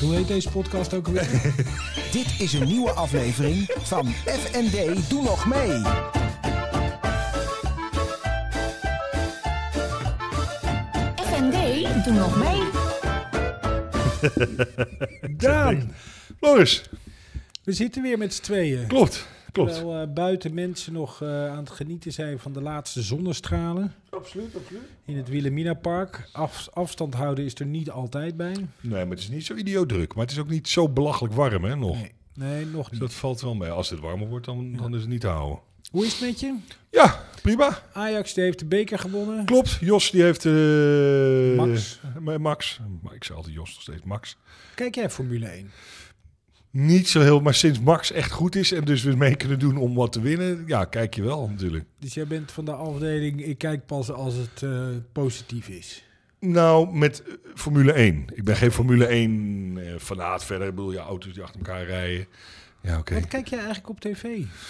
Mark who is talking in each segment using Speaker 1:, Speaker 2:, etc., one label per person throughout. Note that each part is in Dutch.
Speaker 1: Hoe heet deze podcast ook alweer?
Speaker 2: Dit is een nieuwe aflevering van FND Doe Nog Mee.
Speaker 3: FND, doe nog mee.
Speaker 1: Daan,
Speaker 4: Loris,
Speaker 1: we zitten weer met z'n tweeën.
Speaker 4: klopt. Klopt.
Speaker 1: Terwijl eh, buiten mensen nog eh, aan het genieten zijn van de laatste zonnestralen. Absoluut, absoluut. In het Wilhelmina Park. Af- afstand houden is er niet altijd bij.
Speaker 4: Nee, maar het is niet zo idioot druk. Maar het is ook niet zo belachelijk warm, hè, nog.
Speaker 1: Nee, nee nog
Speaker 4: Dus
Speaker 1: niet.
Speaker 4: dat valt wel mee. Als het warmer wordt, dan, dan is het niet te houden.
Speaker 1: Hoe is het met je?
Speaker 4: Ja, prima.
Speaker 1: Ajax die heeft de beker gewonnen.
Speaker 4: Klopt. Jos, die heeft... eh,
Speaker 1: Max.
Speaker 4: eh, Max. Maar ik zei altijd Jos, nog steeds Max.
Speaker 1: Kijk jij Formule 1?
Speaker 4: Niet zo heel, maar sinds Max echt goed is en dus we mee kunnen doen om wat te winnen, ja, kijk je wel natuurlijk.
Speaker 1: Dus jij bent van de afdeling, ik kijk pas als het eh, positief is.
Speaker 4: Nou, met eh, Formule 1. Ik ben geen Formule 1 eh, fanaat verder. Ik bedoel, ja, auto's die achter elkaar rijden. Ja, oké.
Speaker 1: Wat kijk jij eigenlijk op tv,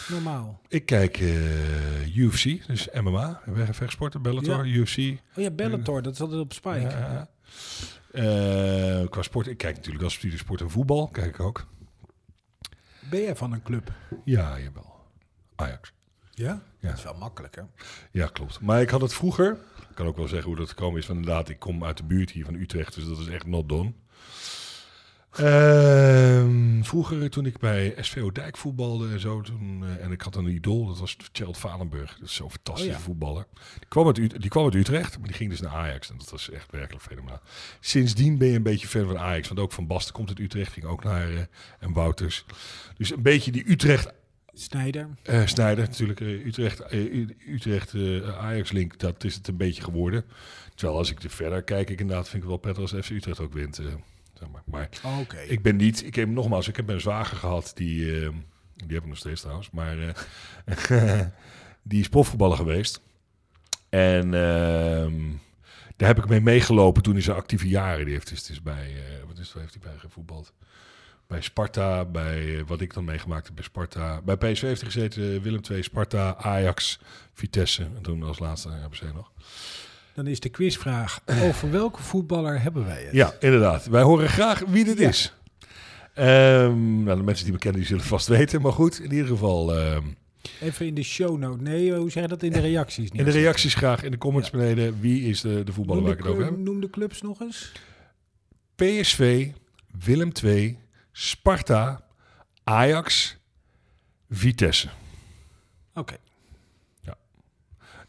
Speaker 1: normaal?
Speaker 4: Ik kijk eh, UFC, dus MMA, weggevechtsporten, Bellator, UFC.
Speaker 1: Oh ja, Bellator, dat is altijd op Spike.
Speaker 4: Ja. Eh, qua sport, ik kijk natuurlijk als studie sport en voetbal, kijk ik ook.
Speaker 1: Ben jij van een club?
Speaker 4: Ja, jawel. Ajax.
Speaker 1: Ja?
Speaker 4: Ja.
Speaker 1: Dat is wel makkelijk, hè?
Speaker 4: Ja, klopt. Maar ik had het vroeger, ik kan ook wel zeggen hoe dat gekomen is, van inderdaad, ik kom uit de buurt hier van Utrecht, dus dat is echt not done. Ehm, vroeger, toen ik bij SVO Dijk voetbalde en zo, toen, eh, en ik had een idool, dat was Gerald Valenburg. Dat is zo'n fantastische
Speaker 1: Oh ja.
Speaker 4: voetballer. Die kwam, uit, Ut- die kwam uit Utrecht, maar die ging dus naar Ajax. En dat was echt werkelijk fenomenaal. Sindsdien ben je een beetje fan van Ajax, want ook Van Basten komt uit Utrecht, ging ook naar eh, en Wouters. Dus een beetje die Utrecht
Speaker 1: Snijder.
Speaker 4: eh Snijder natuurlijk, eh, Utrecht, eh, U- Utrecht eh, Ajax-link, dat is het een beetje geworden. Terwijl als ik er verder kijk, ik inderdaad vind ik het wel prettig als FC Utrecht ook wint. eh, zeg maar. maar
Speaker 1: Oké.
Speaker 4: ik ben niet, ik heb nogmaals, ik heb een zwager gehad, die, eh, die heb ik nog steeds trouwens, maar eh, die is profvoetballer geweest. En ehm, daar heb ik mee meegelopen toen in zijn actieve jaren. Die heeft dus, dus bij, eh, wat is het, waar heeft hij bij gevoetbald? Bij Sparta, bij eh, wat ik dan meegemaakt heb bij Sparta. Bij PSV heeft hij gezeten, eh, Willem II, Sparta, Ajax, Vitesse. En toen als laatste naar RBC nog.
Speaker 1: Dan is de quizvraag, over welke voetballer hebben wij het?
Speaker 4: Eh. Ja, inderdaad. Wij horen graag wie dit
Speaker 1: Ja.
Speaker 4: is. Ehm, nou, de mensen die me kennen, die zullen het vast weten. Maar goed, in ieder geval ehm,
Speaker 1: Even in de show note. Nee, hoe zeg je dat? In de reacties.
Speaker 4: Eh, in de reacties graag, in de comments beneden. Wie is de, de voetballer
Speaker 1: noem
Speaker 4: waar
Speaker 1: de,
Speaker 4: ik het over
Speaker 1: clu-
Speaker 4: heb?
Speaker 1: noem de clubs nog eens.
Speaker 4: PSV, Willem II, Sparta, Ajax, Vitesse.
Speaker 1: Oké,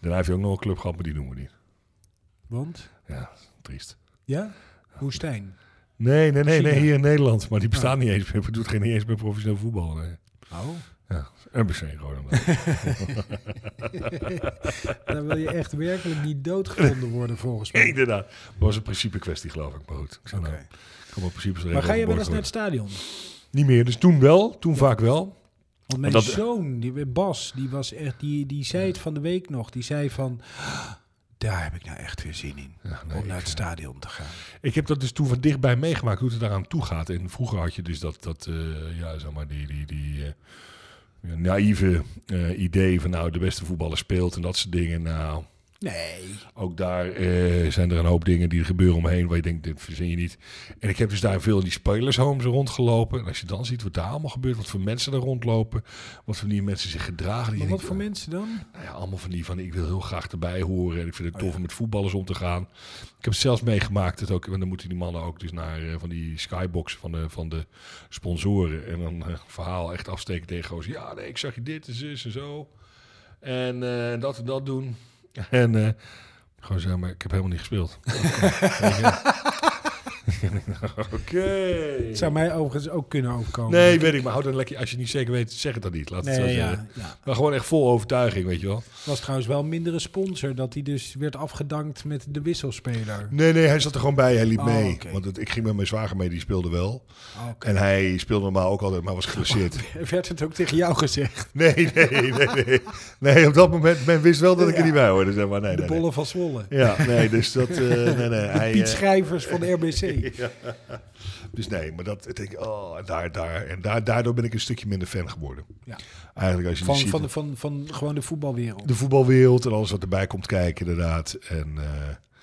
Speaker 4: Daarna heeft hij ook nog een club gehad, maar die noemen we niet.
Speaker 1: want?
Speaker 4: Ja, triest.
Speaker 1: Ja? Woestijn.
Speaker 4: Nee, nee, nee, nee
Speaker 1: China.
Speaker 4: hier in Nederland. Maar die bestaat niet eens meer. Doet geen niet eens meer professioneel voetbal. Nee.
Speaker 1: Oh.
Speaker 4: Ja, RBC gewoon.
Speaker 1: Dan wil je echt werkelijk niet doodgevonden worden, volgens mij.
Speaker 4: Inderdaad. Dat was een principe kwestie, geloof ik. Maar goed, ik zou nou,
Speaker 1: Oké.
Speaker 4: ik kan wel principes regelen
Speaker 1: Maar ga je wel eens
Speaker 4: overboord
Speaker 1: naar het stadion?
Speaker 4: worden. Niet meer, dus toen wel. Toen vaak wel.
Speaker 1: Want mijn
Speaker 4: dat-
Speaker 1: zoon, die, Bas, die, was echt, die, die zei het van de week nog. Die zei van, "Ah, daar heb ik nou echt weer zin in.
Speaker 4: nee,
Speaker 1: om naar
Speaker 4: ik,
Speaker 1: het stadion te gaan.
Speaker 4: Ik heb dat dus toen van dichtbij meegemaakt, hoe het daaraan toe gaat. En vroeger had je dus dat, dat eh, ja, zeg maar, die, die, die eh, naïeve eh, idee van nou, de beste voetballer speelt en dat soort dingen. Nou,
Speaker 1: Nee.
Speaker 4: ook daar eh, zijn er een hoop dingen die er gebeuren omheen waar je denkt, dit verzin je niet. En ik heb dus daar veel in die spelershomes rondgelopen. En als je dan ziet wat daar allemaal gebeurt, wat voor mensen daar rondlopen, wat voor die mensen zich gedragen. die
Speaker 1: Maar
Speaker 4: je
Speaker 1: wat
Speaker 4: denkt,
Speaker 1: voor mensen dan?
Speaker 4: nou ja, allemaal van die van ik wil heel graag erbij horen en ik vind het tof om met voetballers om te gaan. Ik heb het zelfs meegemaakt dat ook, en dan moeten die mannen ook dus naar eh, van die skybox van de, van de sponsoren en dan eh, verhaal echt afsteken tegen gozer. Ja, nee, ik zag je dit en zus en zo en eh, dat en dat doen en eh, gewoon zeg maar ik heb helemaal niet gespeeld. Oké.
Speaker 1: Het zou mij overigens ook kunnen overkomen.
Speaker 4: Nee, weet ik, maar hou dan lekker. Als je het niet zeker weet, zeg het dan niet. Laat het zo
Speaker 1: Nee, ja,
Speaker 4: zeggen.
Speaker 1: ja.
Speaker 4: Maar gewoon echt vol overtuiging, weet je wel.
Speaker 1: Was trouwens wel een mindere sponsor dat hij dus werd afgedankt met de wisselspeler.
Speaker 4: Nee, nee, hij zat er gewoon bij. Hij liep
Speaker 1: Oh,
Speaker 4: mee.
Speaker 1: oké.
Speaker 4: Want het- ik ging met mijn zwager mee, die speelde wel.
Speaker 1: Oké.
Speaker 4: En hij speelde normaal ook altijd, maar was
Speaker 1: Oh,
Speaker 4: geblesseerd.
Speaker 1: Werd het ook tegen jou gezegd?
Speaker 4: Nee, nee, nee, nee. Nee, op dat moment, men wist wel dat ik er niet bij hoorde, zeg maar. Nee,
Speaker 1: De
Speaker 4: nee, nee.
Speaker 1: bollen van Zwolle.
Speaker 4: Ja, nee, dus dat... eh, nee, nee, hij, eh,
Speaker 1: Piet Schrijvers van RBC.
Speaker 4: dus nee, maar dat... Ik denk, oh, en daar, daar. En daar, daardoor ben ik een stukje minder fan geworden.
Speaker 1: Ja.
Speaker 4: Eigenlijk als je
Speaker 1: Van,
Speaker 4: die ziet,
Speaker 1: van,
Speaker 4: de...
Speaker 1: de- van, van gewoon de voetbalwereld.
Speaker 4: voetbalwereld en alles wat erbij komt kijken, inderdaad. En eh,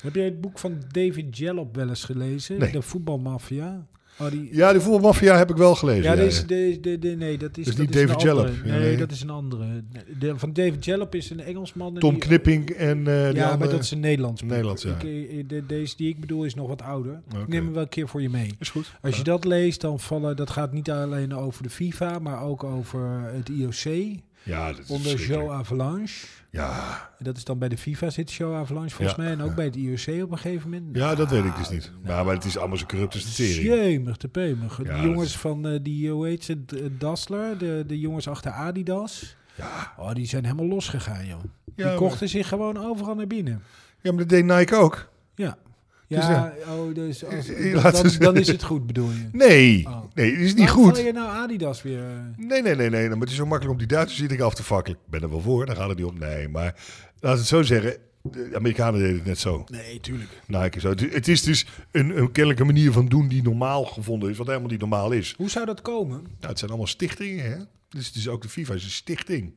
Speaker 1: Heb jij het boek van David Jellop wel eens gelezen?
Speaker 4: Nee.
Speaker 1: De voetbalmafia? Oh, die,
Speaker 4: Ja, die voetbalmafia heb ik wel gelezen.
Speaker 1: ja,
Speaker 4: ja,
Speaker 1: deze,
Speaker 4: ja.
Speaker 1: deze, de- de- nee, dat is,
Speaker 4: Dus
Speaker 1: dat
Speaker 4: niet
Speaker 1: is een
Speaker 4: David Jalop.
Speaker 1: andere. Nee,
Speaker 4: Nee.
Speaker 1: dat is een andere. De, van David Jalop is een Engelsman. en
Speaker 4: Tom
Speaker 1: die-
Speaker 4: Knipping en eh, die
Speaker 1: ja, maar
Speaker 4: andere-
Speaker 1: dat is een Nederlands. boek.
Speaker 4: Nederlands, ja.
Speaker 1: Ik, eh, de- deze die ik bedoel is nog wat ouder.
Speaker 4: Oké.
Speaker 1: Ik neem hem wel een keer voor je mee.
Speaker 4: Is goed.
Speaker 1: Als je dat leest, dan vallen... Dat gaat niet alleen over de FIFA, maar ook over het IOC.
Speaker 4: Ja, dat is
Speaker 1: Onder
Speaker 4: verschrikkelijk.
Speaker 1: Joe Avalanche.
Speaker 4: Ja.
Speaker 1: En dat is dan bij de FIFA zit Joe Avalanche volgens
Speaker 4: Ja.
Speaker 1: mij. En ook bij het IOC op een gegeven moment.
Speaker 4: ja, dat weet ik dus niet. maar, maar het is allemaal zo corrupt als de serie.
Speaker 1: Jemig te peumig.
Speaker 4: Ja,
Speaker 1: die
Speaker 4: dat
Speaker 1: jongens
Speaker 4: is-
Speaker 1: van eh, die, hoe heet ze, D- eh, Dassler, de, de jongens achter Adidas. Oh, die zijn helemaal losgegaan, joh.
Speaker 4: Ja,
Speaker 1: die
Speaker 4: maar-
Speaker 1: kochten zich gewoon overal naar binnen.
Speaker 4: Ja, maar dat deed Nike ook.
Speaker 1: Ja.
Speaker 4: Dus
Speaker 1: Ja, oh, dus als,
Speaker 4: Je laat
Speaker 1: dan,
Speaker 4: ze-
Speaker 1: dan is het goed, bedoel je?
Speaker 4: Nee,
Speaker 1: Oh.
Speaker 4: nee, dat is niet
Speaker 1: Waarom
Speaker 4: goed.
Speaker 1: val je nou Adidas weer? eh?
Speaker 4: Nee, nee, nee, nee. Maar het is zo makkelijk om die Duitsers iedereen af te vakken. Ik ben er wel voor, daar gaat het niet om. Nee, maar laten we het zo zeggen. De Amerikanen deden het net zo.
Speaker 1: Nee, tuurlijk.
Speaker 4: Nike en zo. Het- Het is dus een, een kennelijke manier van doen die normaal gevonden is. Wat helemaal niet normaal is.
Speaker 1: Hoe zou dat komen?
Speaker 4: Nou, het zijn allemaal stichtingen, hè? Dus het is ook de FIFA is een stichting.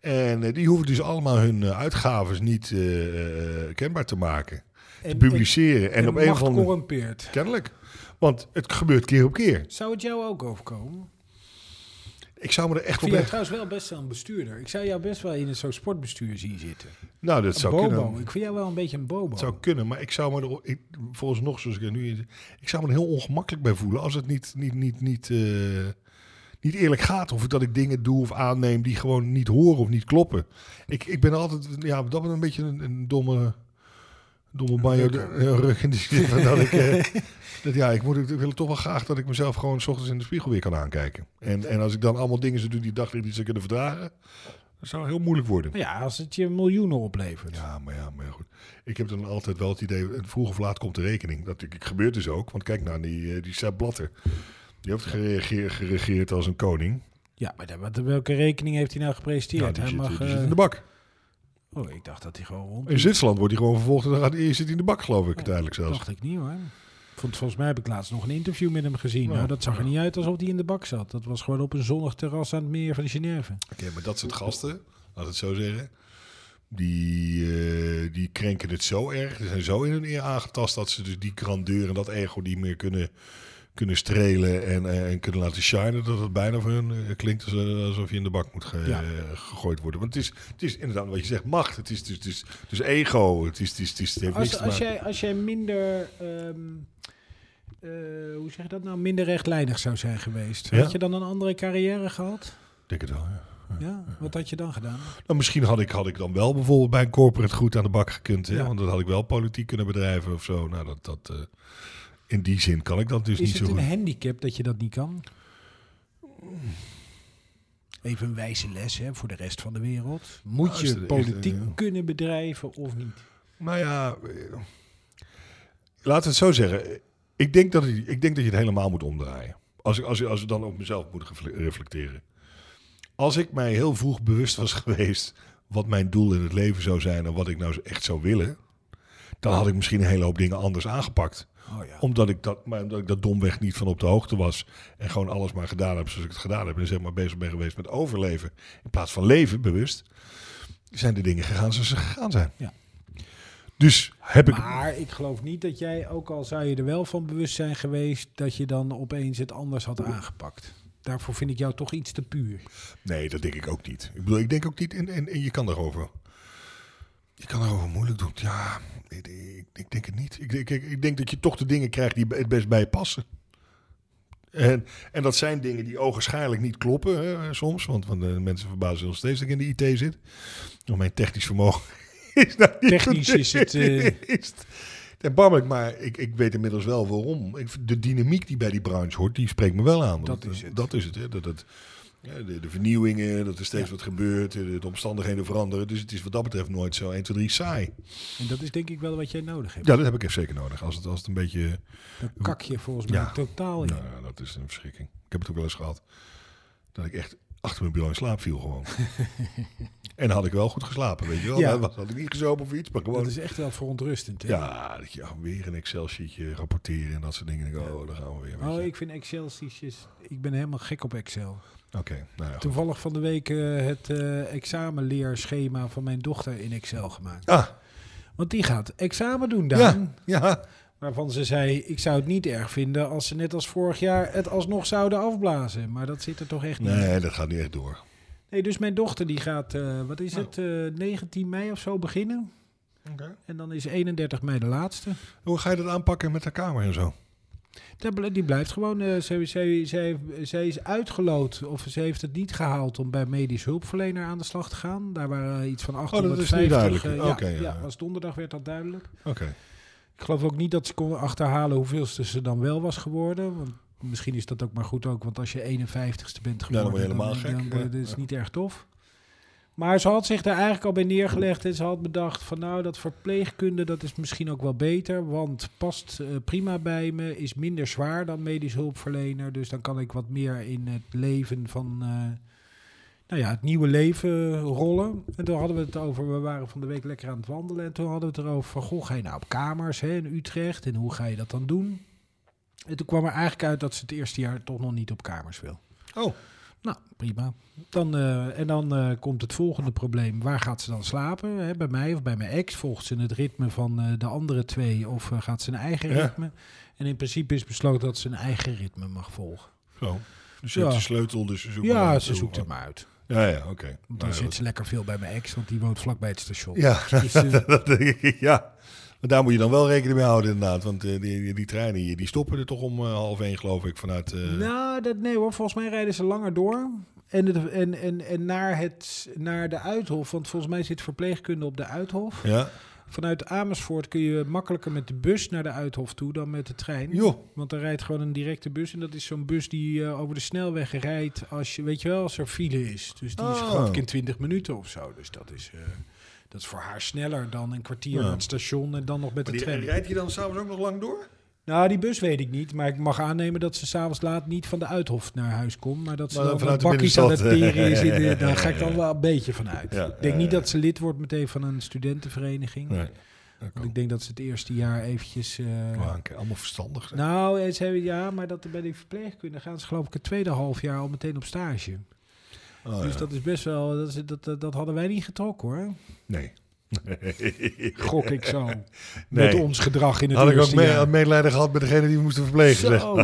Speaker 4: En eh, die hoeven dus allemaal hun eh, uitgaves niet eh, eh, kenbaar te maken.
Speaker 1: En,
Speaker 4: te publiceren. En,
Speaker 1: en,
Speaker 4: op
Speaker 1: macht
Speaker 4: een of andere...
Speaker 1: corrumpeert.
Speaker 4: Kennelijk. Want het gebeurt keer op keer.
Speaker 1: Zou het jou ook overkomen?
Speaker 4: Ik zou me er echt
Speaker 1: Ik
Speaker 4: op...
Speaker 1: vind jou trouwens wel best wel een bestuurder. Ik zou jou best wel in een zo'n sportbestuur zien zitten.
Speaker 4: Nou, dat zou
Speaker 1: bobo.
Speaker 4: kunnen.
Speaker 1: Ik vind jou wel een beetje een bobo.
Speaker 4: Het zou kunnen, maar ik zou me er, ik, volgens nog zoals ik er nu in- ik zou me er heel ongemakkelijk bij voelen als het niet, niet, niet, niet, eh, niet eerlijk gaat. Of dat ik dingen doe of aanneem die gewoon niet horen of niet kloppen. Ik, ik ben altijd, ja, op dat moment een beetje een, een domme, domme banjo eh, rug in de zin van dat ik, eh, dat ja, ik, moet, ik wil toch wel graag dat ik mezelf gewoon 's ochtends in de spiegel weer kan aankijken. En, en als ik dan allemaal dingen zou doen die ik dacht ik niet zou kunnen verdragen, dat zou heel moeilijk worden.
Speaker 1: Maar ja, als het je miljoenen oplevert.
Speaker 4: Ja, maar ja, maar ja, goed. Ik heb dan altijd wel het idee, eh, vroeg of laat komt de rekening. Dat ik- gebeurt dus ook, want kijk naar die, eh, die Sepp Blatter. Die heeft gereageerd, geregeerd als een koning.
Speaker 1: Ja, maar dan- wat, welke rekening heeft hij nou
Speaker 4: Nou,
Speaker 1: gepresenteerd?
Speaker 4: die
Speaker 1: hij
Speaker 4: zit,
Speaker 1: mag,
Speaker 4: die
Speaker 1: eh,
Speaker 4: zit in de bak.
Speaker 1: Oh, ik dacht dat hij gewoon rond...
Speaker 4: In Zwitserland wordt hij gewoon vervolgd en dan gaat, hij- zit hij in de bak, geloof ik, uiteindelijk zelfs.
Speaker 1: dacht ik niet hoor. Vond, volgens mij heb ik laatst nog een interview met hem gezien.
Speaker 4: Ja.
Speaker 1: Nou, dat zag er niet uit alsof hij in de bak zat. Dat was gewoon op een zonnig terras aan het meer van Genève.
Speaker 4: Oké, maar dat soort gasten, laat het zo zeggen, die, eh, die krenken het zo erg. Ze zijn zo in hun eer aangetast dat ze dus die grandeur en dat ego niet meer kunnen, kunnen strelen en, eh, en kunnen laten shinen. Dat het bijna voor hun eh, klinkt als- eh, alsof je in de bak moet ge-
Speaker 1: Ja.
Speaker 4: eh, gegooid worden. Want het is, het is inderdaad wat je zegt, macht. Het is, het is, het is, het is ego. Het, is, het, is, het, is, het heeft niks
Speaker 1: Als,
Speaker 4: te
Speaker 1: als,
Speaker 4: maken.
Speaker 1: jij, als jij minder... ehm, eh, hoe zeg je dat nou? Minder rechtlijnig zou zijn geweest.
Speaker 4: Ja.
Speaker 1: Had je dan een andere carrière gehad?
Speaker 4: Ik Denk het wel, ja.
Speaker 1: Ja? Wat had je dan gedaan?
Speaker 4: Nou, misschien had ik, had ik dan wel bijvoorbeeld bij een corporate goed aan de bak gekund. Hè?
Speaker 1: Ja.
Speaker 4: Want dat had ik wel politiek kunnen bedrijven of zo. Nou, dat, dat, eh, in die zin kan ik dat dus
Speaker 1: Is
Speaker 4: niet zo
Speaker 1: het
Speaker 4: goed.
Speaker 1: een handicap dat je dat niet kan? Even een wijze les hè, voor de rest van de wereld. Moet
Speaker 4: Nou, is
Speaker 1: je
Speaker 4: het-
Speaker 1: politiek
Speaker 4: is het- ja.
Speaker 1: kunnen bedrijven of niet?
Speaker 4: Nou ja, eh, laten we het zo zeggen. Ik denk dat, het- ik denk dat je het helemaal moet omdraaien. Als ik, als, ik- als ik dan op mezelf moet gefle- reflecteren. Als ik mij heel vroeg bewust was geweest wat mijn doel in het leven zou zijn en wat ik nou echt zou willen, dan had ik misschien een hele hoop dingen anders aangepakt.
Speaker 1: Oh ja.
Speaker 4: Omdat ik dat, maar omdat ik dat domweg niet van op de hoogte was. En gewoon alles maar gedaan heb zoals ik het gedaan heb. En zeg maar bezig ben geweest met overleven. In plaats van leven, bewust. Zijn de dingen gegaan zoals ze gegaan zijn.
Speaker 1: Ja.
Speaker 4: Dus heb ik.
Speaker 1: Maar ik geloof niet dat jij, ook al zou je er wel van bewust zijn geweest, dat je dan opeens het anders had aangepakt. Daarvoor vind ik jou toch iets te puur.
Speaker 4: Nee, dat denk ik ook niet. Ik bedoel, ik denk ook niet. En, en, en je kan daarover. Je kan daarover moeilijk doen. Ja, ik, ik, ik denk het niet. Ik, ik, ik denk dat je toch de dingen krijgt die het best bij je passen. En, en dat zijn dingen die ogenschijnlijk niet kloppen hè, soms. Want, want de mensen verbazen zich nog steeds dat ik in de IT zit. Door mijn technisch vermogen is dat niet
Speaker 1: Technisch is het, eh.
Speaker 4: is het erbarmelijk, maar ik, ik weet inmiddels wel waarom. Ik, vind de dynamiek die bij die branche hoort, die spreekt me wel aan. eh,
Speaker 1: Dat is het.
Speaker 4: Dat is het, hè. Dat, het- ja, de, de vernieuwingen, dat er steeds wat gebeurt, de, de omstandigheden veranderen. Dus het is wat dat betreft nooit zo 1, 2, 3 saai.
Speaker 1: En dat is denk ik wel wat jij nodig hebt.
Speaker 4: Ja, dat heb ik even zeker nodig. Als het, als het een beetje...
Speaker 1: Dan kak je volgens mij
Speaker 4: Ja.
Speaker 1: totaal in.
Speaker 4: Nou, ja, dat is een verschrikking. Ik heb het ook wel eens gehad dat ik echt achter mijn bureau in slaap viel gewoon. en had ik wel goed geslapen, weet je wel.
Speaker 1: Ja.
Speaker 4: Nou, had ik niet gezopen of iets, maar gewoon...
Speaker 1: Dat is echt wel verontrustend. hè?
Speaker 4: Ja, dat je oh, weer een Excel-sheetje rapporteren en dat soort dingen. Dan denk ik, oh, daar gaan we weer. weet
Speaker 1: Oh,
Speaker 4: je.
Speaker 1: ik vind Excel-sheetjes... Ik ben helemaal gek op Excel.
Speaker 4: Oké, nou ja. goed.
Speaker 1: Toevallig van de week eh, het eh, examenleerschema van mijn dochter in Excel gemaakt.
Speaker 4: Ah,
Speaker 1: Want die gaat examen doen, Daan.
Speaker 4: ja, ja.
Speaker 1: Waarvan ze zei, ik zou het niet erg vinden als ze net als vorig jaar het alsnog zouden afblazen. Maar dat zit er toch echt niet.
Speaker 4: Nee, dat gaat niet echt door.
Speaker 1: Nee, dus mijn dochter die gaat, eh, wat is het, eh, 19 mei of zo beginnen. En dan is 31 mei de laatste.
Speaker 4: Hoe ga je dat aanpakken met de kamer en zo?
Speaker 1: Dat bl- Die blijft gewoon, eh, zij, zij, zij, zij is uitgeloot of ze heeft het niet gehaald om bij medisch hulpverlener aan de slag te gaan. Daar waren eh, iets van
Speaker 4: Oh, is niet
Speaker 1: 850.
Speaker 4: duidelijk.
Speaker 1: eh,
Speaker 4: Oké,
Speaker 1: ja,
Speaker 4: ja,
Speaker 1: ja,
Speaker 4: ja.
Speaker 1: was donderdag werd dat duidelijk.
Speaker 4: Oké.
Speaker 1: Ik geloof ook niet dat ze kon achterhalen hoeveelste ze dan wel was geworden. Want misschien is dat ook maar goed ook, want als je 51ste bent geworden,
Speaker 4: Ja, dan word je helemaal
Speaker 1: dan-
Speaker 4: gek.
Speaker 1: dan word je-
Speaker 4: Ja.
Speaker 1: dat is niet erg tof. Maar ze had zich daar eigenlijk al bij neergelegd en ze had bedacht van nou, dat verpleegkunde, dat is misschien ook wel beter, want past eh, prima bij me, is minder zwaar dan medisch hulpverlener, dus dan kan ik wat meer in het leven van, eh, nou ja, het nieuwe leven rollen. En toen hadden we het over, we waren van de week lekker aan het wandelen. En toen hadden we het erover van, goh, ga je nou op kamers hè, in Utrecht? En hoe ga je dat dan doen? En toen kwam er eigenlijk uit dat ze het eerste jaar toch nog niet op kamers wil.
Speaker 4: Oh.
Speaker 1: Nou, prima. Dan, eh, en dan eh, komt het volgende probleem. Waar gaat ze dan slapen? Hè, bij mij of bij mijn ex? Volgt ze het ritme van eh, de andere twee of eh, gaat ze een eigen
Speaker 4: Ja.
Speaker 1: ritme? En in principe is besloten dat ze een eigen ritme mag volgen.
Speaker 4: Zo. Dus je hebt
Speaker 1: Ja.
Speaker 4: de sleutel, dus ze zoekt
Speaker 1: Ja, ze zoekt het maar uit.
Speaker 4: Ja, ja, oké.
Speaker 1: Want dan
Speaker 4: Nou ja,
Speaker 1: zit ze lekker veel bij mijn ex, want die woont vlakbij het station.
Speaker 4: Ja,
Speaker 1: Dus, eh,
Speaker 4: dat denk ik, ja. Maar daar moet je dan wel rekening mee houden inderdaad. Want eh, die, die, die treinen hier, die stoppen er toch om eh, half één geloof ik vanuit... eh,
Speaker 1: Nou, dat, nee hoor. Volgens mij rijden ze langer door. En, het- en, en, en naar, het, naar de Uithof. Want volgens mij zit verpleegkunde op de Uithof.
Speaker 4: Ja?
Speaker 1: Vanuit Amersfoort kun je makkelijker met de bus naar de Uithof toe dan met de trein.
Speaker 4: Joh.
Speaker 1: Want er rijdt gewoon een directe bus. En dat is zo'n bus die eh, over de snelweg rijdt als, je, weet je wel, als er file is. Dus die is
Speaker 4: Oh.
Speaker 1: geloof ik in 20 minuten of zo. Dus dat is, eh, dat is voor haar sneller dan een kwartier
Speaker 4: Ja.
Speaker 1: naar het station en dan nog met de trein.
Speaker 4: je dan s'avonds ook nog lang door?
Speaker 1: Nou, die bus weet ik niet. Maar ik mag aannemen dat ze s'avonds laat niet van de Uithof naar huis komt. Maar dat ze
Speaker 4: Maar dan
Speaker 1: dan
Speaker 4: vanuit
Speaker 1: vanuit
Speaker 4: de
Speaker 1: bakjes aan het
Speaker 4: binnenstad. eh,
Speaker 1: peren is. in de- Daar ga ik dan wel een beetje van uit.
Speaker 4: Ja,
Speaker 1: ik denk
Speaker 4: ja,
Speaker 1: niet
Speaker 4: ja.
Speaker 1: dat ze lid wordt meteen van een studentenvereniging.
Speaker 4: Nee.
Speaker 1: Want ik denk dat ze het eerste jaar eventjes... eh,
Speaker 4: Wanken, Ah, allemaal verstandig. zeg.
Speaker 1: nou, en ze hebben, ja, maar dat bij die verpleegkunde gaan ze geloof ik het tweede half jaar al meteen op stage.
Speaker 4: Oh,
Speaker 1: dus
Speaker 4: ja.
Speaker 1: dat is best wel, dat, is- dat, dat, dat hadden wij niet getrokken hoor.
Speaker 4: Nee.
Speaker 1: Gok ik zo. Met
Speaker 4: Nee.
Speaker 1: ons gedrag in het
Speaker 4: Had ik ook
Speaker 1: eerste
Speaker 4: mee,
Speaker 1: jaar.
Speaker 4: had medelijden gehad met degene die we moesten verplegen. zeg.
Speaker 1: dus Zo.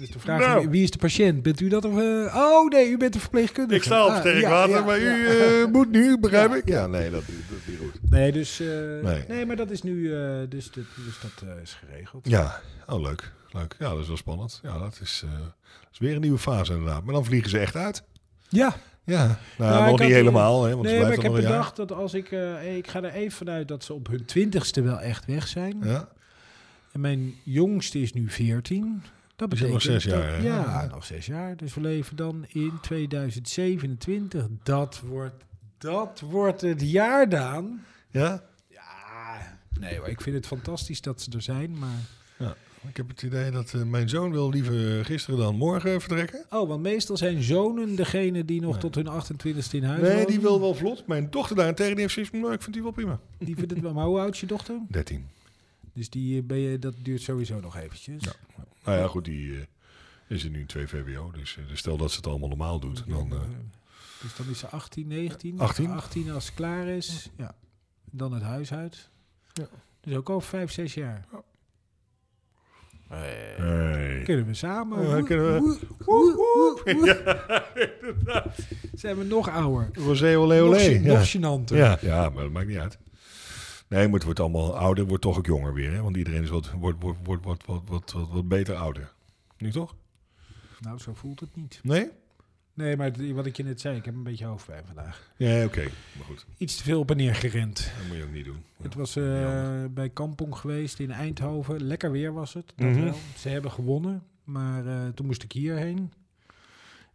Speaker 1: Dus de vraag
Speaker 4: Nou.
Speaker 1: is, wie is de patiënt? Bent u dat of... eh, oh nee, u bent de verpleegkundige.
Speaker 4: Ik sta op
Speaker 1: Ah,
Speaker 4: sterk
Speaker 1: ja,
Speaker 4: water,
Speaker 1: ja,
Speaker 4: maar
Speaker 1: ja.
Speaker 4: u eh, moet nu, begrijp ik? Ja, nee, dat, dat is niet goed.
Speaker 1: Nee, dus, eh,
Speaker 4: Nee.
Speaker 1: nee. maar dat is nu... eh, dus, dat- dus dat eh, is geregeld.
Speaker 4: Ja, oh leuk. leuk. Ja, dat is wel spannend. Ja, dat is, eh, dat is weer een nieuwe fase inderdaad. Maar dan vliegen ze echt uit.
Speaker 1: Ja.
Speaker 4: Ja, nou,
Speaker 1: ik
Speaker 4: nog
Speaker 1: had,
Speaker 4: niet
Speaker 1: eh,
Speaker 4: helemaal, hè, want ze
Speaker 1: Nee, maar ik
Speaker 4: blijft
Speaker 1: heb
Speaker 4: nog een jaar.
Speaker 1: bedacht dat als ik... eh, hey, ik ga er even vanuit dat ze op hun twintigste wel echt weg zijn.
Speaker 4: Ja,
Speaker 1: En mijn jongste is nu 14. Dat
Speaker 4: Die zit
Speaker 1: betekent
Speaker 4: nog zes jaar,
Speaker 1: dat-
Speaker 4: hè?
Speaker 1: ja, nog zes jaar. Dus we leven dan in 2027. Dat wordt, dat wordt het jaar, Daan.
Speaker 4: ja?
Speaker 1: Ja, nee hoor, ik vind het fantastisch dat ze er zijn, maar...
Speaker 4: Ik heb het idee dat eh, mijn zoon wil liever gisteren dan morgen vertrekken.
Speaker 1: Oh, want meestal zijn zonen degene die nog tot hun 28e in huis
Speaker 4: Nee,
Speaker 1: wonen.
Speaker 4: die wil wel vlot. Mijn dochter daarentegen, die heeft zoiets van, nou, ik vind die wel prima.
Speaker 1: Die vindt het wel, maar hoe oud is je dochter?
Speaker 4: 13.
Speaker 1: Dus die, eh, ben je, dat duurt sowieso nog eventjes.
Speaker 4: Ja. Nou ja, goed, die eh, is er nu in 2 VWO. Dus eh, dus stel dat ze het allemaal normaal doet, dan... eh,
Speaker 1: Dus dan is ze 18, 19.
Speaker 4: 18.
Speaker 1: 18 als ze klaar is. Ja. Dan het huis uit.
Speaker 4: Ja.
Speaker 1: Dus ook over 5, 6 jaar.
Speaker 4: hey.
Speaker 1: Kunnen we samen.
Speaker 4: Ja,
Speaker 1: Woe,
Speaker 4: Eh, kunnen we-
Speaker 1: woe, woe, woe, woe. Zijn we nog ouder.
Speaker 4: Rosé, olé,
Speaker 1: Nog,
Speaker 4: olé.
Speaker 1: gen-
Speaker 4: Ja.
Speaker 1: nog gênanter.
Speaker 4: Ja. ja, maar dat maakt niet uit. Nee, maar het wordt allemaal ouder, wordt toch ook jonger weer. Hè? Want iedereen is wat, wordt, wordt, wordt, wordt, wordt, wordt, wordt, wordt beter ouder. Nu toch?
Speaker 1: Nou, zo voelt het niet.
Speaker 4: Nee?
Speaker 1: Nee, maar het- wat ik je net zei, ik heb een beetje hoofdpijn vandaag.
Speaker 4: Ja, oké. Maar goed,
Speaker 1: Iets te veel op en neer gerend.
Speaker 4: dat moet je ook niet doen.
Speaker 1: Het was eh, bij Kampong geweest in Eindhoven. Lekker weer was het. Dat
Speaker 4: Mhm.
Speaker 1: wel. Ze hebben gewonnen, maar eh, toen moest ik hierheen.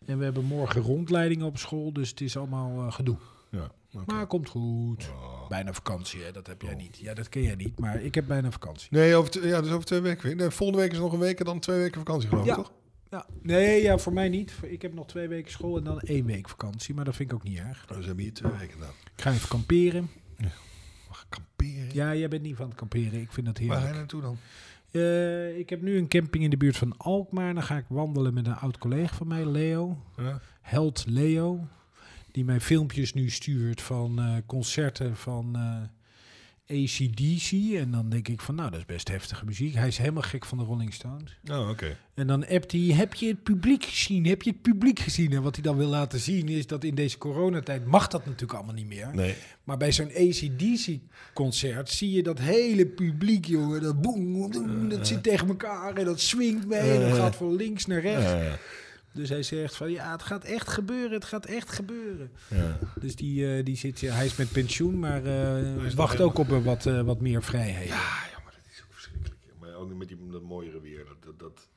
Speaker 1: En we hebben morgen rondleidingen op school, dus het is allemaal eh, gedoe.
Speaker 4: Ja, oké.
Speaker 1: Maar komt goed.
Speaker 4: Oh.
Speaker 1: Bijna vakantie, hè? dat heb jij niet. Ja, dat ken jij niet, maar ik heb bijna vakantie.
Speaker 4: Nee, over, t- ja, dus over twee weken weer. Nee, volgende week is nog een week en dan twee weken vakantie geloof ik,
Speaker 1: Ja.
Speaker 4: toch?
Speaker 1: Ja. Nee, ja, voor mij niet. Ik heb nog twee weken school en dan één week vakantie, maar dat vind ik ook niet erg.
Speaker 4: Nou, ze hebben hier twee weken dan.
Speaker 1: Ik ga even kamperen.
Speaker 4: Mag kamperen?
Speaker 1: Ja, jij bent niet van het kamperen. Ik vind dat
Speaker 4: Waar
Speaker 1: heerlijk.
Speaker 4: ga je naartoe dan?
Speaker 1: Eh, ik heb nu een camping in de buurt van Alkmaar. Dan ga ik wandelen met een oud collega van mij, Leo.
Speaker 4: Ja.
Speaker 1: Held Leo. Die mij filmpjes nu stuurt van eh, concerten van eh, ACDC. En dan denk ik van, nou, dat is best heftige muziek. Hij is helemaal gek van de Rolling Stones.
Speaker 4: Oh, oké.
Speaker 1: En dan appt hij, heb je het publiek gezien? Heb je het publiek gezien? En wat hij dan wil laten zien is dat in deze coronatijd mag dat natuurlijk allemaal niet meer.
Speaker 4: Nee.
Speaker 1: Maar bij zo'n ACDC-concert zie je dat hele publiek, jongen. Dat boem, boem, boem, dat zit tegen elkaar en dat swingt mee. En dat gaat van links naar rechts.
Speaker 4: Eh,
Speaker 1: Dus hij zegt van, ja, het gaat echt gebeuren. Het gaat echt gebeuren.
Speaker 4: ja.
Speaker 1: Dus die, eh, die zit, ja, hij is met pensioen, maar eh,
Speaker 4: nog
Speaker 1: wacht
Speaker 4: helemaal-
Speaker 1: ook op eh, wat, eh, wat meer vrijheid.
Speaker 4: Ah, ja, maar dat is ook verschrikkelijk. joh. Maar ook met die, dat mooiere weer. Dat, dat, dat-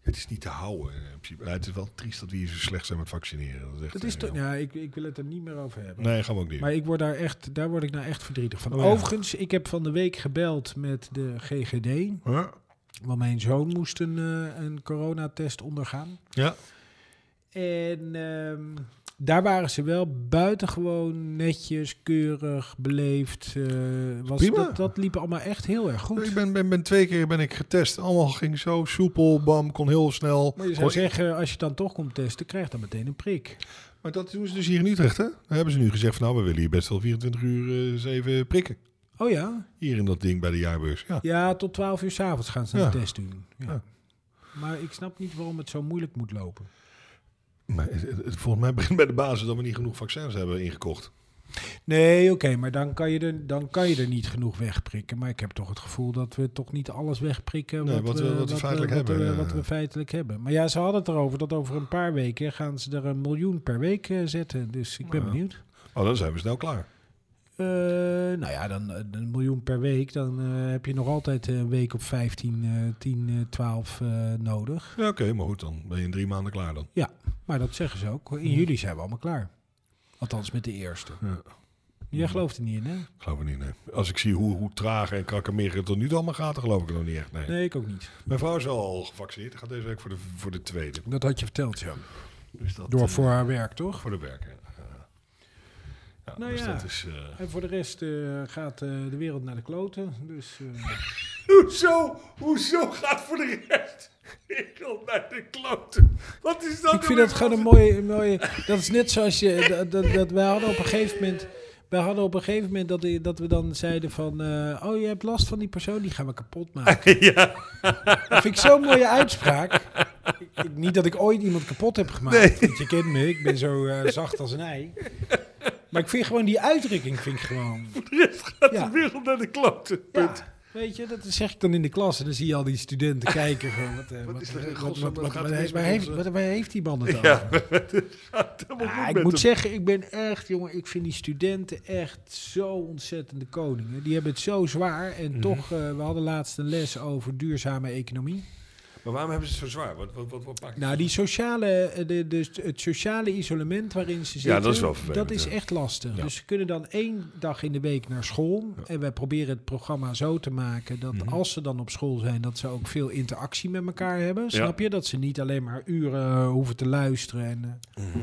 Speaker 4: het is niet te houden. eh, In principe. Ja, het is wel triest dat we hier zo slecht zijn met vaccineren. Dat is, echt,
Speaker 1: Dat is
Speaker 4: eh,
Speaker 1: toch,
Speaker 4: jammer.
Speaker 1: ja, ik, ik wil het er niet meer over hebben.
Speaker 4: Nee, gaan we ook niet.
Speaker 1: Maar ik word daar, echt, daar word ik nou echt verdrietig van.
Speaker 4: Oh, ja.
Speaker 1: Overigens, ik heb van de week gebeld met de GGD.
Speaker 4: Huh?
Speaker 1: Want mijn zoon moest een, eh, een coronatest ondergaan.
Speaker 4: Ja.
Speaker 1: En ehm, daar waren ze wel buitengewoon netjes, keurig, beleefd. eh, was
Speaker 4: Prima.
Speaker 1: dat, dat liep allemaal echt heel erg goed.
Speaker 4: Ik ben, ben, ben twee keer ben ik getest. Allemaal ging zo soepel, bam, kon heel snel.
Speaker 1: Maar je zou
Speaker 4: Kon-
Speaker 1: zeggen, als je dan toch komt testen, krijg dan meteen een prik.
Speaker 4: maar dat doen ze dus hier in Utrecht, hè? Dan hebben ze nu gezegd van, nou, we willen hier best wel 24 uur eh 7 prikken.
Speaker 1: Oh ja?
Speaker 4: Hier in dat ding bij de jaarbeurs. Ja.
Speaker 1: Ja, tot 12 uur s'avonds gaan ze
Speaker 4: Ja.
Speaker 1: een test doen. Ja.
Speaker 4: Ja.
Speaker 1: Maar ik snap niet waarom het zo moeilijk moet lopen.
Speaker 4: Maar het, het- het- volgens mij begint bij de basis dat we niet genoeg vaccins hebben ingekocht.
Speaker 1: Nee, oké, maar dan kan, je er, dan kan je er niet genoeg wegprikken. Maar ik heb toch het gevoel dat we toch niet alles wegprikken
Speaker 4: Nee, wat we- wat we feitelijk
Speaker 1: wat
Speaker 4: hebben, eh.
Speaker 1: we-
Speaker 4: ja.
Speaker 1: wat we feitelijk hebben. Maar ja, ze hadden het erover dat over een paar weken gaan ze er een miljoen per week eh, zetten. Dus ik ben
Speaker 4: Ja.
Speaker 1: benieuwd.
Speaker 4: Oh, dan zijn we snel klaar.
Speaker 1: Eh, nou ja, dan eh, een miljoen per week. Dan eh, heb je nog altijd eh, een week op 15, eh, 10, eh, 12 eh, nodig.
Speaker 4: Ja, oké, maar goed, dan ben je in drie maanden klaar dan.
Speaker 1: Maar dat zeggen ze ook. In juli zijn we allemaal klaar. Althans, met de eerste.
Speaker 4: Ja.
Speaker 1: Jij gelooft er niet in, hè?
Speaker 4: Geloof ik niet, nee. Als ik zie hoe, hoe traag en krakkemig het tot nu toe allemaal gaat, dan geloof ik het nog niet echt, nee.
Speaker 1: Nee, ik ook niet.
Speaker 4: Mijn vrouw is wel al gevaccineerd. Die gaat deze week voor de, voor de tweede.
Speaker 1: Dat had je verteld, ja.
Speaker 4: Dus dat,
Speaker 1: Door
Speaker 4: eh,
Speaker 1: voor haar werk, toch?
Speaker 4: voor de werken. Ja, ja
Speaker 1: Nou
Speaker 4: dus
Speaker 1: ja.
Speaker 4: dat is... eh,
Speaker 1: En voor de rest eh, gaat eh, de wereld naar de kloten. Dus, eh,
Speaker 4: Hoezo? Hoezo gaat voor de rest wereld naar de kloten? Wat is dat? nou
Speaker 1: ik vind dat gewoon een mooie, een mooie... Dat is net zoals je... Dat, dat, dat- wij hadden op een gegeven moment... Wij hadden op een gegeven moment dat, i- dat we dan zeiden van... eh, oh, je hebt last van die persoon, die gaan we kapot maken.
Speaker 4: Ja,
Speaker 1: Dat vind ik zo'n mooie uitspraak. Ik- ik- niet dat ik ooit iemand kapot heb gemaakt. Want je kent me, ik ben zo eh, zacht als een ei. Maar ik vind gewoon die uitdrukking, vind ik gewoon...
Speaker 4: gaat
Speaker 1: Ja.
Speaker 4: de wereld naar de kloten. Punt.
Speaker 1: Ja, weet je, dat zeg ik dan in de klas. En dan zie je al die studenten kijken. Van, wat, eh,
Speaker 4: Wat
Speaker 1: wat,
Speaker 4: is er in
Speaker 1: wat-
Speaker 4: godsnaam,
Speaker 1: wat-
Speaker 4: wat
Speaker 1: wat-
Speaker 4: gaat
Speaker 1: wat
Speaker 4: er mis
Speaker 1: heeft- waar
Speaker 4: met
Speaker 1: heeft-
Speaker 4: ons,
Speaker 1: wat- waar heeft die man het over?
Speaker 4: Ja, het gaat helemaal
Speaker 1: Ah,
Speaker 4: goed
Speaker 1: ik
Speaker 4: met
Speaker 1: moet
Speaker 4: hem.
Speaker 1: zeggen, ik ben echt, jongen, ik vind die studenten echt zo ontzettende koningen. Die hebben het zo zwaar. En
Speaker 4: Mhm.
Speaker 1: toch, eh, we hadden laatst een les over duurzame economie.
Speaker 4: Maar waarom hebben ze het zo zwaar? Wat, wat, wat, wat maakt het?
Speaker 1: Nou, die sociale, eh, de, dus het sociale isolement waarin ze zitten,
Speaker 4: dat is wel vervelend,
Speaker 1: dat is
Speaker 4: ja.
Speaker 1: echt lastig.
Speaker 4: Ja.
Speaker 1: Dus ze kunnen dan één dag in de week naar school. En wij proberen het programma zo te maken dat
Speaker 4: Mhm.
Speaker 1: als ze dan op school zijn, dat ze ook veel interactie met elkaar hebben. Snap je? Dat ze niet alleen maar uren eh, hoeven te luisteren. En, eh.
Speaker 4: Mhm.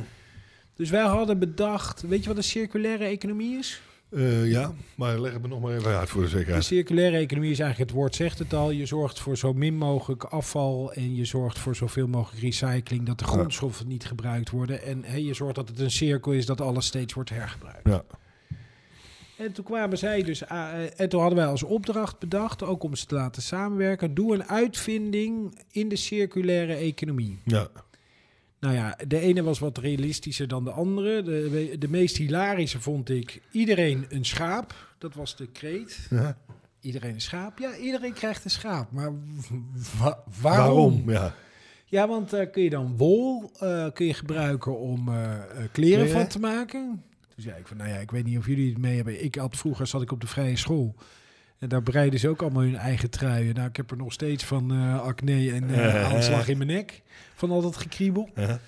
Speaker 1: Dus wij hadden bedacht, weet je wat een circulaire economie is?
Speaker 4: Eh, ja, maar leg het me nog maar even uit voor de
Speaker 1: De
Speaker 4: zekerheid.
Speaker 1: circulaire economie is eigenlijk het woord zegt het al. Je zorgt voor zo min mogelijk afval en je zorgt voor zoveel mogelijk recycling, dat de grondstoffen niet gebruikt worden. En hè, je zorgt dat het een cirkel is dat alles steeds wordt hergebruikt.
Speaker 4: Ja.
Speaker 1: En toen kwamen zij dus a- eh, en toen hadden wij als opdracht bedacht, ook om ze te laten samenwerken, doe een uitvinding in de circulaire economie.
Speaker 4: Ja.
Speaker 1: Nou ja, de ene was wat realistischer dan de andere. De, de meest hilarische vond ik iedereen een schaap. Dat was de kreet.
Speaker 4: Ja.
Speaker 1: Iedereen een schaap? Ja, iedereen krijgt een schaap. Maar wa- waarom?
Speaker 4: Waarom? Ja.
Speaker 1: Ja, want eh, kun je dan wol eh, kun je gebruiken om eh, eh, kleren van te maken? Toen zei ik van, nou ja, ik weet niet of jullie het mee hebben. Ik had vroeger, zat ik op de vrije school. En daar breiden ze ook allemaal hun eigen truien. Nou, ik heb er nog steeds van eh, acne en eh, aanslag in mijn nek. Van al dat gekriebel.
Speaker 4: Ja.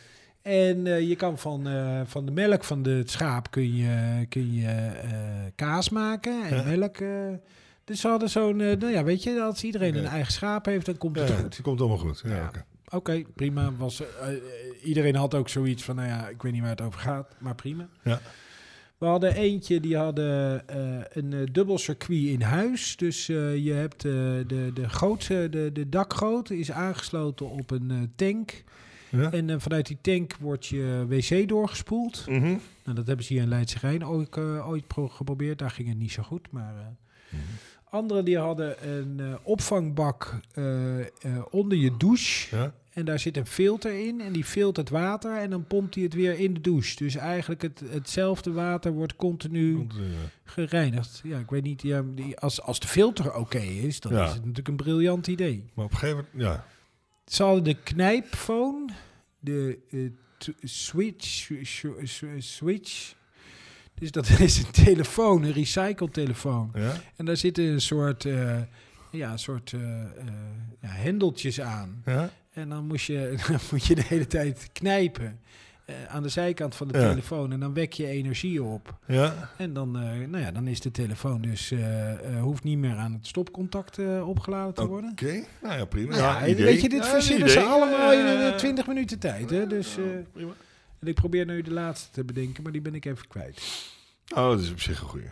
Speaker 1: En eh, je kan van, eh, van de melk van de, het schaap kun je, kun je eh, kaas maken en melk. eh. dus ze hadden zo'n, eh, nou ja, weet je, als iedereen een
Speaker 4: Ja.
Speaker 1: eigen schaap heeft, dan komt het
Speaker 4: Ja,
Speaker 1: goed.
Speaker 4: het komt allemaal goed. Ja,
Speaker 1: Ja.
Speaker 4: oké.
Speaker 1: Oké, prima. Was, eh, eh, iedereen had ook zoiets van, nou ja, ik weet niet waar het over gaat, maar prima.
Speaker 4: Ja.
Speaker 1: We hadden eentje, die hadden eh, een eh, dubbel circuit in huis. Dus eh, je hebt eh, de, de, goot, eh, de, de dakgoot is aangesloten op een eh, tank.
Speaker 4: Ja.
Speaker 1: En eh, vanuit die tank wordt je wc doorgespoeld.
Speaker 4: Mhm.
Speaker 1: Nou, dat hebben ze hier in Leidse Rijn ook eh, ooit pro- geprobeerd. Daar ging het niet zo goed, maar... eh,
Speaker 4: Mhm.
Speaker 1: Anderen die hadden een eh, opvangbak eh, eh, onder je douche.
Speaker 4: Ja?
Speaker 1: En daar zit een filter in en die filtert water en dan pompt hij het weer in de douche. Dus eigenlijk het, hetzelfde water wordt continu
Speaker 4: Want, eh,
Speaker 1: gereinigd. Ja, ik weet niet, ja, die- als, als de filter oké is, dan
Speaker 4: Ja.
Speaker 1: is het natuurlijk een briljant idee.
Speaker 4: maar op een gegeven moment, ja.
Speaker 1: Ze hadden de knijpfoon, de eh, t- switch, sw- sw- sw- switch. Dus dat is een telefoon, een recycletelefoon.
Speaker 4: ja?
Speaker 1: En daar zitten een soort, eh, ja, een soort eh, eh, ja, hendeltjes aan.
Speaker 4: ja?
Speaker 1: En dan, moest je, dan moet je de hele tijd knijpen eh, aan de zijkant van de
Speaker 4: Ja.
Speaker 1: telefoon. En dan wek je energie op.
Speaker 4: Ja?
Speaker 1: En dan, eh, nou ja, dan is de telefoon dus eh, eh, hoeft niet meer aan het stopcontact eh, opgeladen te worden.
Speaker 4: Oké, nou ja, prima.
Speaker 1: Nou ja,
Speaker 4: Ja, idee.
Speaker 1: Weet je, dit
Speaker 4: Ja,
Speaker 1: verzinnen
Speaker 4: idee.
Speaker 1: ze allemaal in
Speaker 4: Ja,
Speaker 1: eh,
Speaker 4: ja,
Speaker 1: 20 minuten tijd. Hè? Dus, eh,
Speaker 4: ja, prima.
Speaker 1: en ik probeer nu de laatste te bedenken, maar die ben ik even kwijt.
Speaker 4: Oh, dat is op zich een goeie.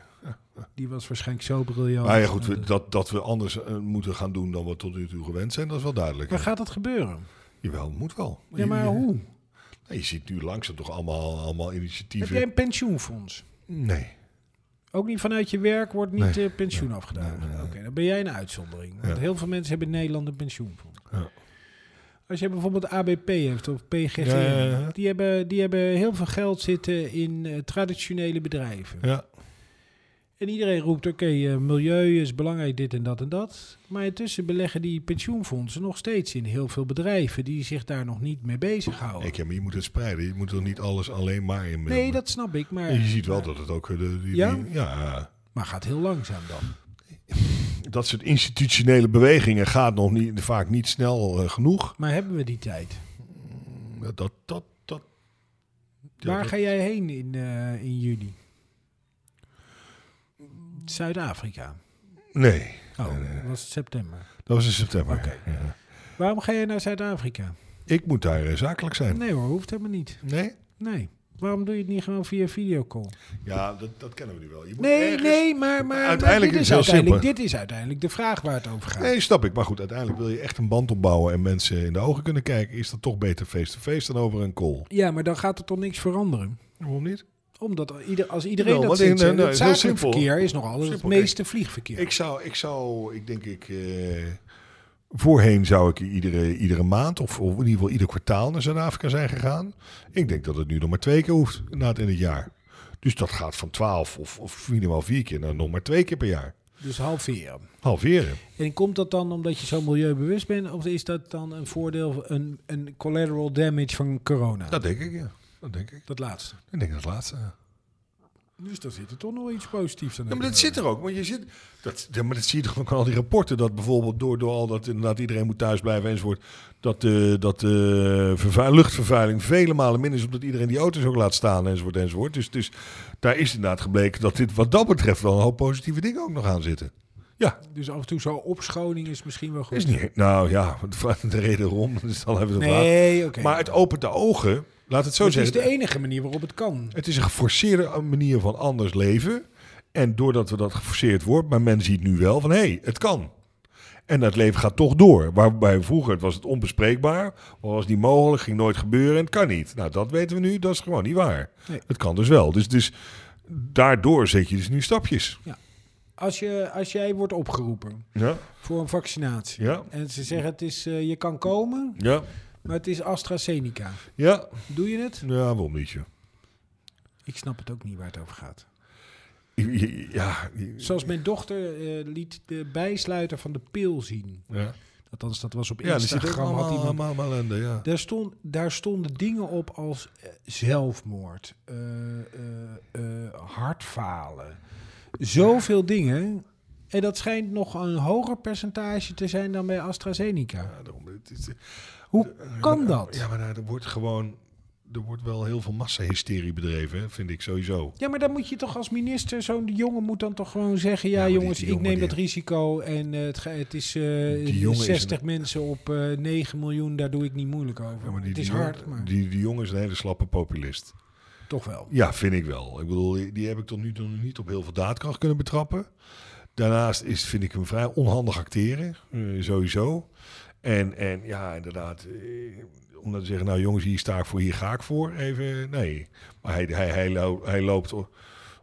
Speaker 1: Die was waarschijnlijk zo briljant.
Speaker 4: Maar ja, goed, we-
Speaker 1: Eh,
Speaker 4: dat, dat we anders eh, moeten gaan doen dan we tot nu toe gewend zijn, dat is wel duidelijk.
Speaker 1: Maar gaat dat gebeuren?
Speaker 4: Jawel, moet wel.
Speaker 1: Ja, maar
Speaker 4: Je-
Speaker 1: hoe?
Speaker 4: Nou, je ziet nu langzaam toch allemaal, allemaal
Speaker 1: Heb
Speaker 4: initiatieven.
Speaker 1: jij een pensioenfonds?
Speaker 4: Nee.
Speaker 1: Ook niet vanuit je werk wordt niet
Speaker 4: Nee.
Speaker 1: eh, pensioen
Speaker 4: Nee.
Speaker 1: afgedaan.
Speaker 4: Nee, nee, nee.
Speaker 1: Oké, dan ben jij een uitzondering. Want
Speaker 4: Ja.
Speaker 1: heel veel mensen hebben in Nederland een pensioenfonds.
Speaker 4: Ja.
Speaker 1: Als je bijvoorbeeld ABP hebt of PGG,
Speaker 4: Ja, ja, ja.
Speaker 1: Die, hebben, die hebben heel veel geld zitten in eh, traditionele bedrijven.
Speaker 4: Ja.
Speaker 1: En iedereen roept, oké, eh, milieu is belangrijk, dit en dat en dat. Maar intussen beleggen die pensioenfondsen nog steeds in heel veel bedrijven die zich daar nog niet mee bezighouden.
Speaker 4: Ik, ja, maar je moet het spreiden. Je moet er niet alles alleen maar in.
Speaker 1: nee, dat snap ik, maar,
Speaker 4: Je ziet wel dat het ook... eh, De, die-
Speaker 1: Ja?
Speaker 4: die- ja.
Speaker 1: maar gaat heel langzaam dan.
Speaker 4: Dat soort institutionele bewegingen gaat nog niet, vaak niet snel eh, genoeg.
Speaker 1: Maar hebben we die tijd?
Speaker 4: Dat, dat, dat, ja,
Speaker 1: Waar
Speaker 4: dat-
Speaker 1: ga jij heen in, eh, in juni? Zuid-Afrika.
Speaker 4: Nee,
Speaker 1: Oh,
Speaker 4: Eh.
Speaker 1: dat was het september.
Speaker 4: dat was in september.
Speaker 1: Oké.
Speaker 4: Ja.
Speaker 1: Waarom ga jij naar Zuid-Afrika?
Speaker 4: Ik moet daar eh, zakelijk zijn.
Speaker 1: Nee hoor, hoeft helemaal niet.
Speaker 4: Nee?
Speaker 1: Nee. Waarom doe je het niet gewoon via videocall?
Speaker 4: Ja, dat, dat kennen we nu wel. Je moet
Speaker 1: Nee,
Speaker 4: ergens-
Speaker 1: nee, maar, maar
Speaker 4: Uiteindelijk
Speaker 1: dit
Speaker 4: is het heel
Speaker 1: uiteindelijk, dit is uiteindelijk de vraag waar het over gaat.
Speaker 4: Nee, snap ik. Maar goed, uiteindelijk wil je echt een band opbouwen en mensen in de ogen kunnen kijken. Is dat toch beter face-to-face dan over een call?
Speaker 1: Ja, maar dan gaat er toch niks veranderen?
Speaker 4: Waarom niet?
Speaker 1: Omdat al- ieder, als iedereen
Speaker 4: Nou,
Speaker 1: dat
Speaker 4: want
Speaker 1: ziet,
Speaker 4: in-
Speaker 1: eh,
Speaker 4: nou,
Speaker 1: het
Speaker 4: is heel
Speaker 1: zakelijk
Speaker 4: simpel.
Speaker 1: verkeer is nog altijd
Speaker 4: Simpel,
Speaker 1: het
Speaker 4: kijk.
Speaker 1: meeste vliegverkeer.
Speaker 4: Ik zou, ik zou, ik denk ik. eh, voorheen zou ik iedere, iedere maand of, of in ieder geval ieder kwartaal naar Zuid-Afrika zijn gegaan. Ik denk dat het nu nog maar twee keer hoeft na het in het jaar. Dus dat gaat van twaalf of, of minimaal vier keer naar nog maar twee keer per jaar.
Speaker 1: Dus halveren.
Speaker 4: Halveren.
Speaker 1: En komt dat dan omdat je zo milieubewust bent? Of is dat dan een voordeel, een, een collateral damage van corona? Dat,
Speaker 4: Dat denk ik, ja. Dat denk ik.
Speaker 1: laatste.
Speaker 4: Ik denk dat het laatste.
Speaker 1: Dus daar zit er toch nog iets positiefs aan.
Speaker 4: Ja, maar dat zit er ook. Want je zit, dat, ja, maar dat zie je toch ook aan al die rapporten. Dat bijvoorbeeld door, door al dat inderdaad iedereen moet thuisblijven enzovoort. Dat, eh dat eh, vervuil- luchtvervuiling vele malen minder is. Omdat iedereen die auto's ook laat staan enzovoort enzovoort. Dus, dus daar is inderdaad gebleken dat dit wat dat betreft wel een hoop positieve dingen ook nog aan zitten. Ja,
Speaker 1: Dus af en toe zo opschoning is misschien wel goed.
Speaker 4: is niet. Nou ja, de reden waarom dat is dan even de vraag.
Speaker 1: nee, oké.
Speaker 4: Maar het opent de ogen. Laat het zo
Speaker 1: Het is
Speaker 4: zeggen.
Speaker 1: de enige manier waarop het kan.
Speaker 4: Het is een geforceerde manier van anders leven. En doordat we dat geforceerd wordt, maar men ziet nu wel van hé, hey, het kan. En dat leven gaat toch door. Waarbij vroeger het was het onbespreekbaar, was niet mogelijk, ging nooit gebeuren en het kan niet. Nou, dat weten we nu, dat is gewoon niet waar.
Speaker 1: Nee.
Speaker 4: Het kan dus wel. Dus, dus daardoor zet je dus nu stapjes.
Speaker 1: Als, je, als jij wordt opgeroepen
Speaker 4: Ja,
Speaker 1: voor een vaccinatie.
Speaker 4: ja,
Speaker 1: En ze zeggen het is, eh, je kan komen,
Speaker 4: ja,
Speaker 1: maar het is AstraZeneca.
Speaker 4: ja.
Speaker 1: Doe je het?
Speaker 4: Ja, waarom niet? joh?
Speaker 1: Ik snap het ook niet waar het over gaat.
Speaker 4: I- i- Ja, i-
Speaker 1: Zoals mijn dochter eh, liet de bijsluiter van de pil zien.
Speaker 4: ja.
Speaker 1: Althans, dat was op
Speaker 4: ja dus
Speaker 1: Instagram.
Speaker 4: zit ook
Speaker 1: had
Speaker 4: allemaal,
Speaker 1: iemand-
Speaker 4: allemaal, allemaal ellende, ja.
Speaker 1: Daar, stond, daar stonden dingen op als eh, zelfmoord, eh, eh, eh, hartfalen. Zoveel dingen. En dat schijnt nog een hoger percentage te zijn dan bij AstraZeneca.
Speaker 4: Ja, daarom, het is-
Speaker 1: Hoe kan
Speaker 4: Ja,
Speaker 1: dat?
Speaker 4: maar nou, er wordt gewoon. Er wordt wel heel veel massahysterie bedreven, hè, vind ik sowieso.
Speaker 1: Ja, maar dan moet je toch als minister, zo'n jongen moet dan toch gewoon zeggen...
Speaker 4: Ja,
Speaker 1: ja,
Speaker 4: maar die-
Speaker 1: jongens,
Speaker 4: die
Speaker 1: ik
Speaker 4: jongen
Speaker 1: neem
Speaker 4: die-
Speaker 1: dat risico en eh, het, ge- het is eh,
Speaker 4: jongen is
Speaker 1: 60 mensen op eh 9 miljoen, daar doe ik niet moeilijk over.
Speaker 4: Ja, maar die,
Speaker 1: het is
Speaker 4: die jongen-
Speaker 1: hard, maar
Speaker 4: Die, die jongen is een hele slappe populist.
Speaker 1: toch wel.
Speaker 4: Ja, vind ik wel. Ik bedoel, die die heb ik tot nu toe nog niet op heel veel daadkracht kunnen betrappen. Daarnaast is, vind ik hem vrij onhandig acteren, eh, sowieso. En, en ja, inderdaad, eh, om dan te zeggen, nou jongens, hier sta ik voor, hier ga ik voor. Even, nee. Maar hij, hij, hij, lo- hij loopt,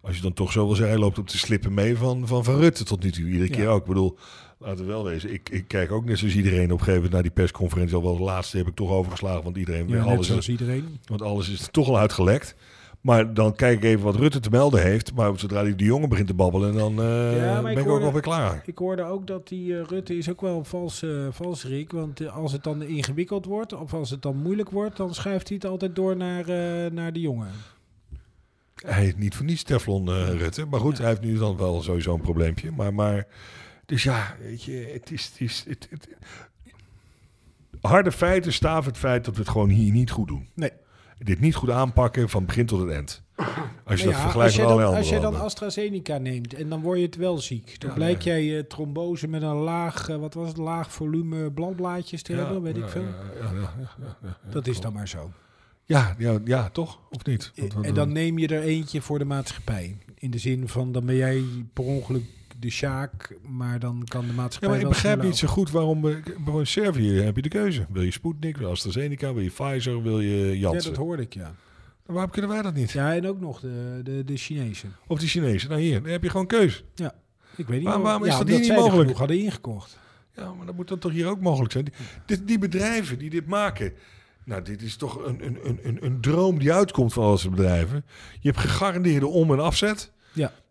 Speaker 4: Als je dan toch zo wil zijn, hij loopt op de slippen mee van, van, van Rutte tot nu toe. Iedere
Speaker 1: Ja.
Speaker 4: keer ook. Ik bedoel, laten we wel wezen. Ik, ik kijk ook net zoals iedereen op een gegeven moment naar die persconferentie. Al wel de laatste heb ik toch overgeslagen, want iedereen...
Speaker 1: Ja, net
Speaker 4: alles,
Speaker 1: zoals iedereen.
Speaker 4: want alles is toch al uitgelekt. Maar dan kijk ik even wat Rutte te melden heeft. Maar zodra die de jongen begint te babbelen, dan eh,
Speaker 1: Ja, maar ik
Speaker 4: ben ik ook
Speaker 1: hoorde-
Speaker 4: alweer klaar.
Speaker 1: Ik hoorde ook dat die eh, Rutte is ook wel een valse, valse Rick. Want eh, als het dan ingewikkeld wordt, of als het dan moeilijk wordt, dan schuift hij het altijd door naar, eh, naar de jongen.
Speaker 4: Hij heeft niet voor niets Teflon eh, Rutte. Maar goed,
Speaker 1: Ja.
Speaker 4: hij heeft nu dan wel sowieso een probleempje. Maar, maar dus ja, weet je, het is... Het is het, het- harde feiten staven het feit dat we het gewoon hier niet goed doen.
Speaker 1: Nee.
Speaker 4: Dit niet goed aanpakken van begin tot het eind. Als je
Speaker 1: Nou
Speaker 4: Dus dat
Speaker 1: ja,
Speaker 4: vergelijkt
Speaker 1: als
Speaker 4: met
Speaker 1: jij
Speaker 4: alle
Speaker 1: dan,
Speaker 4: andere
Speaker 1: als jij dan
Speaker 4: landen.
Speaker 1: AstraZeneca neemt en dan word je het wel ziek. Dan
Speaker 4: Ja,
Speaker 1: blijkt
Speaker 4: nee.
Speaker 1: jij eh, trombose met een laag, eh, wat was het, laag volume bladblaadjes te hebben, weet ik veel.
Speaker 4: Ja, ja, ja, ja, ja, ja.
Speaker 1: dat is dan maar zo.
Speaker 4: Ja, ja, ja, toch? Of niet? Want- want-
Speaker 1: en dan neem je er eentje voor de maatschappij. In de zin van, dan ben jij per ongeluk de sjaak, maar dan kan de
Speaker 4: Ja,
Speaker 1: maatschappij
Speaker 4: maar ik
Speaker 1: wel
Speaker 4: begrijp
Speaker 1: sneller
Speaker 4: niet zo goed waarom... eh, Gewoon Servië heb je de keuze. Wil je Sputnik, wil je AstraZeneca, wil je Pfizer, wil je
Speaker 1: over. Ja,
Speaker 4: Janssen?
Speaker 1: dat hoorde ik, ja.
Speaker 4: Waarom kunnen wij dat niet?
Speaker 1: Ja, en ook nog de, de, de Chinezen.
Speaker 4: Of die Chinezen? Nou hier, dan heb je gewoon keus.
Speaker 1: Ik weet niet
Speaker 4: Waarom- waarom
Speaker 1: ja,
Speaker 4: is dat
Speaker 1: omdat
Speaker 4: hier niet
Speaker 1: zij er
Speaker 4: mogelijk?
Speaker 1: genoeg hadden ingekocht.
Speaker 4: Ja, maar dan moet dat toch hier ook mogelijk zijn. Die, dit- die bedrijven die dit maken... Nou, dit is toch een, een, een, een, een droom die uitkomt van al deze bedrijven. Je hebt gegarandeerde om- en afzet.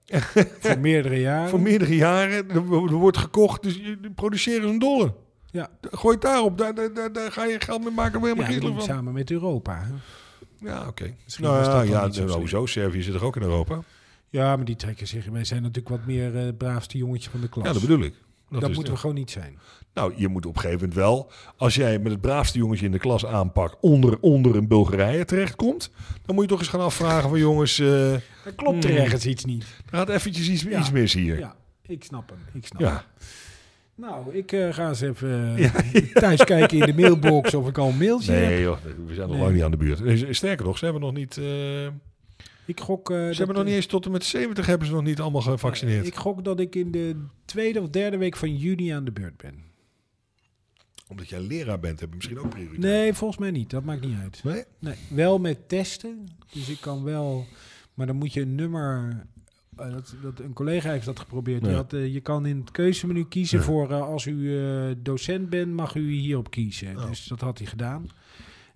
Speaker 1: Voor meerdere jaren.
Speaker 4: Voor meerdere jaren. Er wo- er wordt gekocht, dus je produceren ze een dollar.
Speaker 1: Ja.
Speaker 4: Gooi het daarop. Daar, daar, daar, daar ga je geld mee maken. Waar je
Speaker 1: ja,
Speaker 4: helemaal
Speaker 1: en
Speaker 4: ja, van.
Speaker 1: samen met Europa. hè.
Speaker 4: Ja, oké.
Speaker 1: Misschien
Speaker 4: Nou
Speaker 1: was dat
Speaker 4: ja,
Speaker 1: dan
Speaker 4: ja
Speaker 1: niet zo
Speaker 4: nou,
Speaker 1: slim.
Speaker 4: hoezo? Servië zit toch ook in Europa?
Speaker 1: Ja, maar die trekken zich. Wij zijn natuurlijk wat meer eh, het braafste jongetje van de klas.
Speaker 4: Ja, dat bedoel ik.
Speaker 1: Dat,
Speaker 4: is
Speaker 1: moeten we
Speaker 4: het.
Speaker 1: gewoon niet zijn.
Speaker 4: Nou, je moet op een gegeven moment wel, als jij met het braafste jongetje in de klas aanpakt, onder, onder een Bulgarije terechtkomt, dan moet je toch eens gaan afvragen van jongens, eh, er
Speaker 1: Er klopt
Speaker 4: Hmm.
Speaker 1: er ergens iets niet.
Speaker 4: gaat eventjes iets,
Speaker 1: Ja.
Speaker 4: iets mis hier. Ja.
Speaker 1: Ja, ik snap hem. Ik snap hem.
Speaker 4: Ja.
Speaker 1: Nou, ik eh, ga eens even eh,
Speaker 4: Ja.
Speaker 1: thuis kijken in de mailbox of ik al een mailtje heb.
Speaker 4: Nee joh, we zijn nog
Speaker 1: Nee.
Speaker 4: lang niet aan de buurt. Nee, Sterker nog, ze hebben nog niet, eh,
Speaker 1: Ik gok, eh,
Speaker 4: ze
Speaker 1: dat-
Speaker 4: hebben nog niet eens tot en met 70 hebben ze nog niet allemaal gevaccineerd.
Speaker 1: Ik gok dat ik in de tweede of derde week van juni aan de beurt ben.
Speaker 4: Omdat jij leraar bent, heb je misschien ook prioriteit.
Speaker 1: Nee, volgens mij niet. Dat maakt niet uit.
Speaker 4: Nee?
Speaker 1: Nee, wel met testen. Dus ik kan wel. Maar dan moet je een nummer. eh, dat, dat, een collega heeft dat geprobeerd. Die
Speaker 4: Ja.
Speaker 1: had, eh, je kan in het keuzemenu kiezen
Speaker 4: Ja.
Speaker 1: voor eh, als u eh, docent bent, mag u hierop kiezen.
Speaker 4: Oh.
Speaker 1: Dus dat had hij gedaan.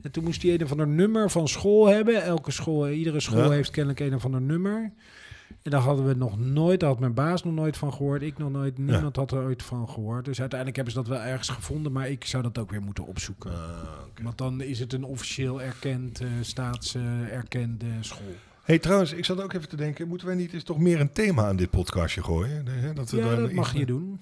Speaker 1: En toen moest hij een of ander nummer van school hebben. Elke school, eh, iedere school
Speaker 4: Ja.
Speaker 1: heeft kennelijk een of ander nummer. En daar hadden we nog nooit, daar had mijn baas nog nooit van gehoord. Ik nog nooit, niemand had er ooit van gehoord. Dus uiteindelijk hebben ze dat wel ergens gevonden. Maar ik zou dat ook weer moeten opzoeken.
Speaker 4: Ah, oké.
Speaker 1: Want dan is het een officieel erkend, eh staats eh, erkende school.
Speaker 4: Hey, trouwens, ik zat ook even te denken, moeten wij niet eens toch meer een thema aan dit podcastje gooien? Hè, Dat we
Speaker 1: ja,
Speaker 4: daar
Speaker 1: dat
Speaker 4: iets
Speaker 1: mag je
Speaker 4: mee-
Speaker 1: doen.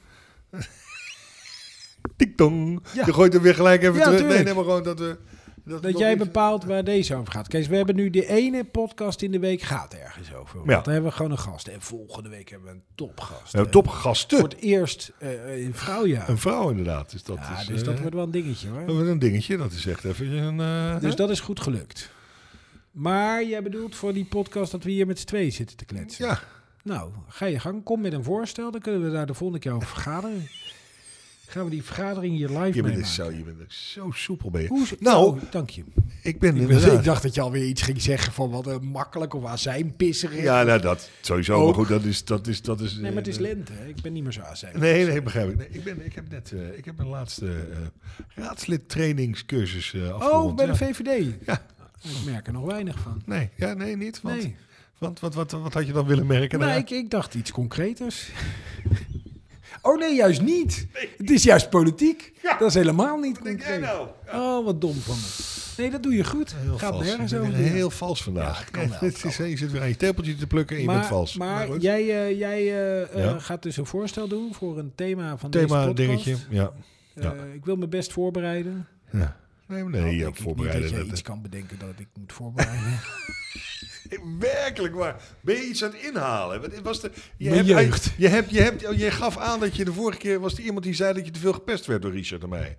Speaker 4: Tikdong.
Speaker 1: Ja.
Speaker 4: Je gooit hem weer gelijk even
Speaker 1: Ja,
Speaker 4: terug. Nee,
Speaker 1: tuurlijk.
Speaker 4: nee, maar gewoon dat we... we
Speaker 1: Dat
Speaker 4: nog
Speaker 1: jij
Speaker 4: iets-
Speaker 1: bepaalt waar deze over gaat. Kees, we hebben nu de ene podcast in de week gaat ergens over. Want
Speaker 4: Ja.
Speaker 1: Dan hebben we gewoon een gast. En volgende week hebben we een topgast.
Speaker 4: We hebben
Speaker 1: Eh,
Speaker 4: topgasten.
Speaker 1: Voor het eerst eh, een vrouwjaar.
Speaker 4: Een vrouw inderdaad. Dus dat
Speaker 1: ja,
Speaker 4: is,
Speaker 1: dus dat
Speaker 4: eh,
Speaker 1: wordt wel een dingetje hoor.
Speaker 4: dat wordt een dingetje. Dat is echt even een... eh,
Speaker 1: Dus dat is goed gelukt. Maar jij bedoelt voor die podcast dat we hier met z'n tweeën zitten te kletsen.
Speaker 4: Ja,
Speaker 1: Nou, ga je gang. Kom met een voorstel. Dan kunnen we daar de volgende keer over vergaderen. Gaan we die vergadering hier live
Speaker 4: je bent, er
Speaker 1: meemaken.
Speaker 4: zo, je bent er zo soepel bij.
Speaker 1: Hoe is-
Speaker 4: Nou,
Speaker 1: oh, dank je.
Speaker 4: ik ben
Speaker 1: Ik,
Speaker 4: inderdaad...
Speaker 1: dacht dat je alweer iets ging zeggen van wat een makkelijk of azijnpisserig.
Speaker 4: ja, nou dat sowieso.
Speaker 1: Ook.
Speaker 4: Maar goed, dat is... Dat is, dat is
Speaker 1: nee, maar het is
Speaker 4: eh,
Speaker 1: lente. hè. Ik ben niet meer zo azijn.
Speaker 4: Nee, nee, begrijp ik. Nee, ik, ben, ik heb net eh, ik heb mijn laatste eh raadslid trainingscursus eh afgerond.
Speaker 1: oh, bij de
Speaker 4: Ja.
Speaker 1: VVD.
Speaker 4: Ja.
Speaker 1: Ik merk er nog weinig van.
Speaker 4: Nee, ja, nee, niet. Want,
Speaker 1: Nee,
Speaker 4: want wat, wat, wat had je dan willen merken?
Speaker 1: nou,
Speaker 4: daarna?
Speaker 1: ik, ik dacht iets concreters. oh nee, juist niet. Het is juist politiek. Dat is helemaal niet
Speaker 4: denk
Speaker 1: concreet.
Speaker 4: jij nou?
Speaker 1: Oh, wat dom van me. Nee, dat doe je goed.
Speaker 4: Heel
Speaker 1: Gaat
Speaker 4: vals.
Speaker 1: nergens
Speaker 4: Je bent
Speaker 1: over.
Speaker 4: Heel vals vandaag.
Speaker 1: Ja, kan wel,
Speaker 4: Ja, het is, je zit weer aan je tepeltje te plukken en je
Speaker 1: maar,
Speaker 4: bent vals.
Speaker 1: Maar,
Speaker 4: goed.
Speaker 1: jij, eh, jij eh, eh,
Speaker 4: Ja.
Speaker 1: gaat dus een voorstel doen voor een thema van deze
Speaker 4: thema
Speaker 1: podcast.
Speaker 4: dingetje. Ja.
Speaker 1: Eh,
Speaker 4: Ja.
Speaker 1: ik wil me best voorbereiden.
Speaker 4: ja. Nee, maar nee,
Speaker 1: Nou,
Speaker 4: je
Speaker 1: denk
Speaker 4: hebt
Speaker 1: ik Niet
Speaker 4: voorbereiden.
Speaker 1: dat je
Speaker 4: dat-
Speaker 1: iets kan bedenken dat ik moet voorbereiden.
Speaker 4: Werkelijk waar. Ben je iets aan het inhalen? Wat was de, je,
Speaker 1: Mijn
Speaker 4: hebt, hij-
Speaker 1: jeugd.
Speaker 4: Je, hebt, je, hebt, oh, je gaf aan dat je de vorige keer was er iemand die zei dat je te veel gepest werd door Richard en mij.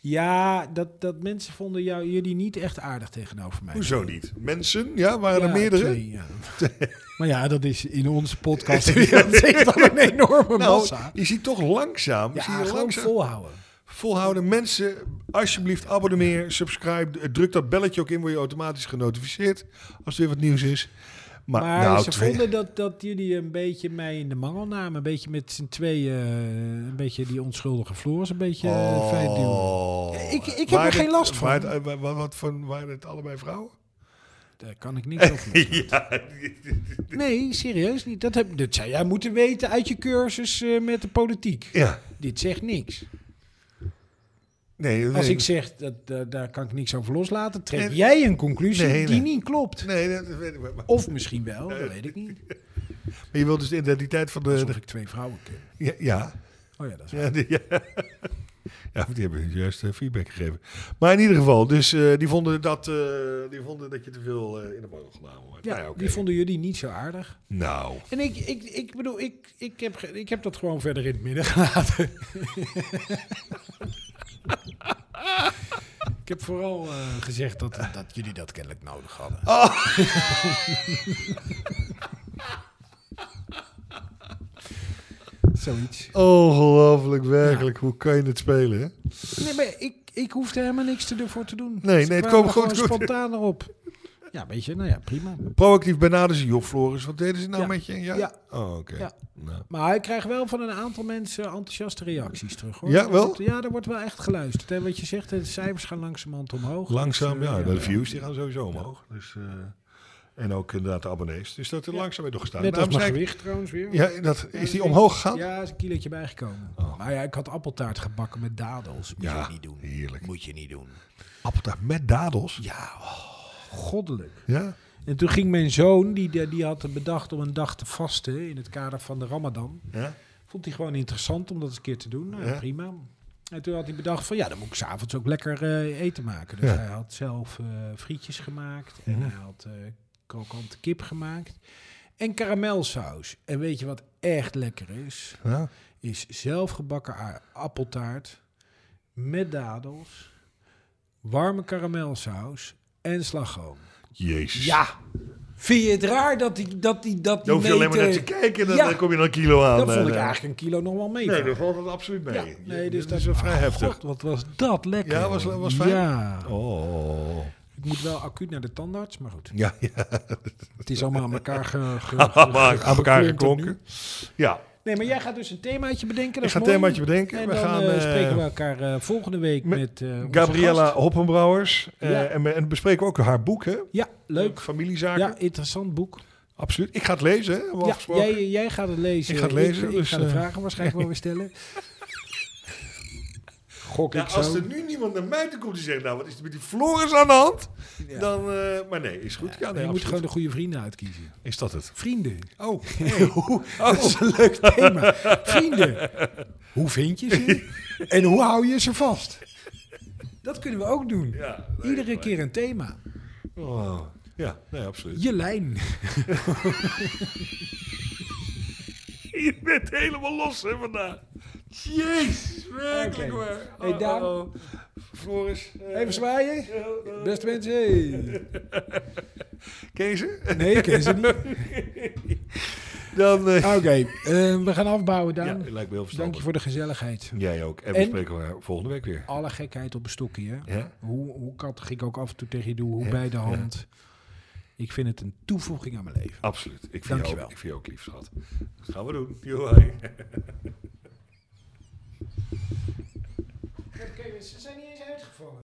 Speaker 1: ja, dat, dat mensen vonden jou, jullie niet echt aardig tegenover mij.
Speaker 4: Hoezo niet? Mensen? Ja, waren
Speaker 1: Ja,
Speaker 4: er meerdere?
Speaker 1: twee, ja. maar ja, dat is in onze podcast zich dan een enorme
Speaker 4: Nou,
Speaker 1: massa.
Speaker 4: je ziet toch langzaam, zie
Speaker 1: Ja,
Speaker 4: je
Speaker 1: gewoon
Speaker 4: langzaam
Speaker 1: volhouden.
Speaker 4: volhouden. Mensen, alsjeblieft Eh, abonneer, subscribe, druk dat belletje ook in, word je automatisch genotificeerd als er weer wat nieuws is. Maar,
Speaker 1: maar
Speaker 4: nou,
Speaker 1: ze
Speaker 4: twee-
Speaker 1: vonden dat, dat jullie een beetje mij in de mangel namen. Een beetje met z'n tweeën, eh, een beetje die onschuldige Floris een beetje
Speaker 4: Oh.
Speaker 1: eh, fijn duwen. Ik- ik heb er
Speaker 4: Waren
Speaker 1: geen
Speaker 4: het-
Speaker 1: last van.
Speaker 4: waren het- eh, wa- wa- wat van, waren het allebei vrouwen?
Speaker 1: Daar kan ik niks over doen. Nee, serieus niet. Dat, heb, dat zou jij moeten weten uit je cursus eh, met de politiek.
Speaker 4: ja.
Speaker 1: Dit zegt niks.
Speaker 4: Nee,
Speaker 1: Als
Speaker 4: nee.
Speaker 1: ik zeg, dat, dat- daar kan ik niks over loslaten, trek
Speaker 4: Nee.
Speaker 1: jij een conclusie
Speaker 4: Nee,
Speaker 1: die
Speaker 4: nee.
Speaker 1: niet klopt.
Speaker 4: Nee, dat weet ik wel. Maar
Speaker 1: Of misschien wel, dat weet ik niet.
Speaker 4: maar je wilt dus de identiteit van Eh, de...
Speaker 1: Alsof
Speaker 4: de-
Speaker 1: ik twee vrouwen ken.
Speaker 4: ja, ja,
Speaker 1: Oh ja, dat is waar.
Speaker 4: ja, die, ja. Ja, want die hebben juist eh, feedback gegeven. Maar in ieder geval, dus eh, die, vonden dat, eh, die vonden dat je te veel eh, in de mangel genomen wordt.
Speaker 1: Ja,
Speaker 4: Nou oké.
Speaker 1: die vonden jullie niet zo aardig.
Speaker 4: Nou,
Speaker 1: En ik, ik, ik bedoel, ik, ik, heb, ge- ik heb dat gewoon verder in het midden gelaten. ik heb vooral eh, gezegd dat,
Speaker 4: Ah.
Speaker 1: dat jullie dat kennelijk nodig hadden.
Speaker 4: Oh.
Speaker 1: Zoiets.
Speaker 4: ongelooflijk werkelijk. Hoe kan je het spelen, hè?
Speaker 1: Nee, maar ik, ik hoefde helemaal niks te- ervoor te doen. Dus
Speaker 4: nee,
Speaker 1: Ze
Speaker 4: het
Speaker 1: kwamen
Speaker 4: kwam
Speaker 1: er
Speaker 4: gewoon goed.
Speaker 1: spontaan erop. Ja, weet je, nou ja, prima.
Speaker 4: Proactief benaderen ze, joh Floris, wat deden ze nou
Speaker 1: Ja.
Speaker 4: met je? Ja.
Speaker 1: Ja.
Speaker 4: Oh, oké.
Speaker 1: Ja.
Speaker 4: Nou.
Speaker 1: Maar ik krijg wel van een aantal mensen enthousiaste reacties terug. Hoor.
Speaker 4: Ja,
Speaker 1: Er
Speaker 4: wel?
Speaker 1: wordt- ja, er wordt wel echt geluisterd. En wat je zegt, de cijfers gaan langzamerhand omhoog.
Speaker 4: Langzaam,
Speaker 1: Dus, eh,
Speaker 4: ja, de views die gaan sowieso omhoog. Dus, eh, en ook inderdaad de abonnees. Dus dat er langzaam weer doorgestaan.
Speaker 1: Net als
Speaker 4: Daarom
Speaker 1: mijn
Speaker 4: zei ik-
Speaker 1: gewicht trouwens weer.
Speaker 4: Ja, dat, is die omhoog gegaan?
Speaker 1: Ja, is een kilootje bijgekomen.
Speaker 4: Oh.
Speaker 1: Maar ja, ik had appeltaart gebakken met dadels. Moet
Speaker 4: Ja,
Speaker 1: je niet doen.
Speaker 4: heerlijk.
Speaker 1: Moet je niet doen.
Speaker 4: Appeltaart met dadels?
Speaker 1: Ja, oh, goddelijk.
Speaker 4: Ja?
Speaker 1: En toen ging mijn zoon, die, die had bedacht om een dag te vasten in het kader van de ramadan.
Speaker 4: Ja?
Speaker 1: Vond hij gewoon interessant om dat eens een keer te doen. Nou,
Speaker 4: Ja.
Speaker 1: Prima. En toen had hij bedacht van ja, dan moet ik s'avonds ook lekker eh, eten maken. Dus
Speaker 4: Ja.
Speaker 1: hij had zelf eh, frietjes gemaakt en
Speaker 4: Mhm.
Speaker 1: hij had eh krokante kip gemaakt. En karamelsaus. En weet je wat echt lekker is?
Speaker 4: Ja?
Speaker 1: Is zelfgebakken a- appeltaart met dadels, warme karamelsaus en slagroom.
Speaker 4: Jezus.
Speaker 1: Ja! Vind je het raar dat die dat die dat die
Speaker 4: Dan hoef je alleen maar naar
Speaker 1: meter-
Speaker 4: te kijken en dan,
Speaker 1: Ja.
Speaker 4: dan kom je dan een kilo aan.
Speaker 1: Dat
Speaker 4: eh,
Speaker 1: vond ik
Speaker 4: nee.
Speaker 1: eigenlijk een kilo nog wel mee.
Speaker 4: Nee, daar valt het absoluut mee.
Speaker 1: Ja, nee, dus
Speaker 4: Dit
Speaker 1: dat
Speaker 4: is wel vrij
Speaker 1: Oh,
Speaker 4: heftig.
Speaker 1: God, wat was dat lekker.
Speaker 4: Ja, was-
Speaker 1: hoor.
Speaker 4: was fijn?
Speaker 1: Ja.
Speaker 4: Oh.
Speaker 1: Ik moet wel acuut naar de tandarts, maar goed.
Speaker 4: Ja, ja.
Speaker 1: Het is allemaal aan elkaar ge, ge-
Speaker 4: Allemaal
Speaker 1: ge-
Speaker 4: aan elkaar
Speaker 1: gekleurd tot nu.
Speaker 4: geklonken. Ja,
Speaker 1: Nee, maar jij gaat dus een themaatje bedenken. Dat
Speaker 4: ik
Speaker 1: is
Speaker 4: ga het
Speaker 1: mooi.
Speaker 4: themaatje bedenken.
Speaker 1: En
Speaker 4: we
Speaker 1: dan
Speaker 4: gaan...
Speaker 1: eh,
Speaker 4: eh,
Speaker 1: spreken we elkaar eh, volgende week
Speaker 4: met
Speaker 1: met, eh, onze
Speaker 4: Gabriella
Speaker 1: gast.
Speaker 4: Hoppenbrouwers. eh,
Speaker 1: Ja.
Speaker 4: en, we- en bespreken we ook haar boek, hè?
Speaker 1: Ja, leuk.
Speaker 4: Familiezaken.
Speaker 1: Ja, interessant boek.
Speaker 4: Absoluut. Ik ga het lezen, hè? Hebben we
Speaker 1: Ja,
Speaker 4: afgesproken.
Speaker 1: jij, eh, jij gaat het lezen.
Speaker 4: Ik ga het lezen,
Speaker 1: Ik,
Speaker 4: dus,
Speaker 1: ga de
Speaker 4: eh,
Speaker 1: vragen waarschijnlijk wel weer stellen. Gok
Speaker 4: Ja,
Speaker 1: ik zo.
Speaker 4: als er nu niemand naar mij toe komt die zegt, nou, wat is er met die Floris aan de hand?
Speaker 1: Ja.
Speaker 4: Dan, eh, maar nee, is goed. Ja,
Speaker 1: je
Speaker 4: nee,
Speaker 1: moet
Speaker 4: absoluut.
Speaker 1: gewoon de goede vrienden uitkiezen.
Speaker 4: Is dat het?
Speaker 1: Vrienden.
Speaker 4: Oh,
Speaker 1: Dat is een leuk thema. Vrienden, hoe vind je ze? En hoe hou je ze vast? Dat kunnen we ook doen.
Speaker 4: ja. nee,
Speaker 1: Iedere
Speaker 4: gelijk.
Speaker 1: keer een thema.
Speaker 4: Oh, ja, nee, absoluut.
Speaker 1: Je lijn.
Speaker 4: Je bent helemaal los, hè, vandaag. Jezus, werkelijk
Speaker 1: Oké.
Speaker 4: waar.
Speaker 1: Hey, Daan.
Speaker 4: oh. Floris. eh,
Speaker 1: Even zwaaien.
Speaker 4: eh, eh,
Speaker 1: Beste mensen. hey.
Speaker 4: Ken je ze?
Speaker 1: Nee, ik ken ze niet. Oké,
Speaker 4: Dan... eh,
Speaker 1: eh, we gaan afbouwen,
Speaker 4: ja,
Speaker 1: Ah, Daan.
Speaker 4: lijkt me heel
Speaker 1: Dank je
Speaker 4: verstandig.
Speaker 1: voor de gezelligheid.
Speaker 4: Jij ook. En,
Speaker 1: En-
Speaker 4: we spreken elkaar volgende week weer.
Speaker 1: Alle gekheid op een stokje. hè?
Speaker 4: Ja?
Speaker 1: Hoe, hoe kattig ik ook af en toe tegen je doe, hoe bij de hand. Ik vind het een toevoeging aan mijn leven.
Speaker 4: Absoluut. Ik vind, jou,
Speaker 1: Dankjewel.
Speaker 4: ook- ik vind jou ook lief, schat. Dat gaan we doen. Joe,
Speaker 1: Oké, ze zijn niet eens uitgevallen.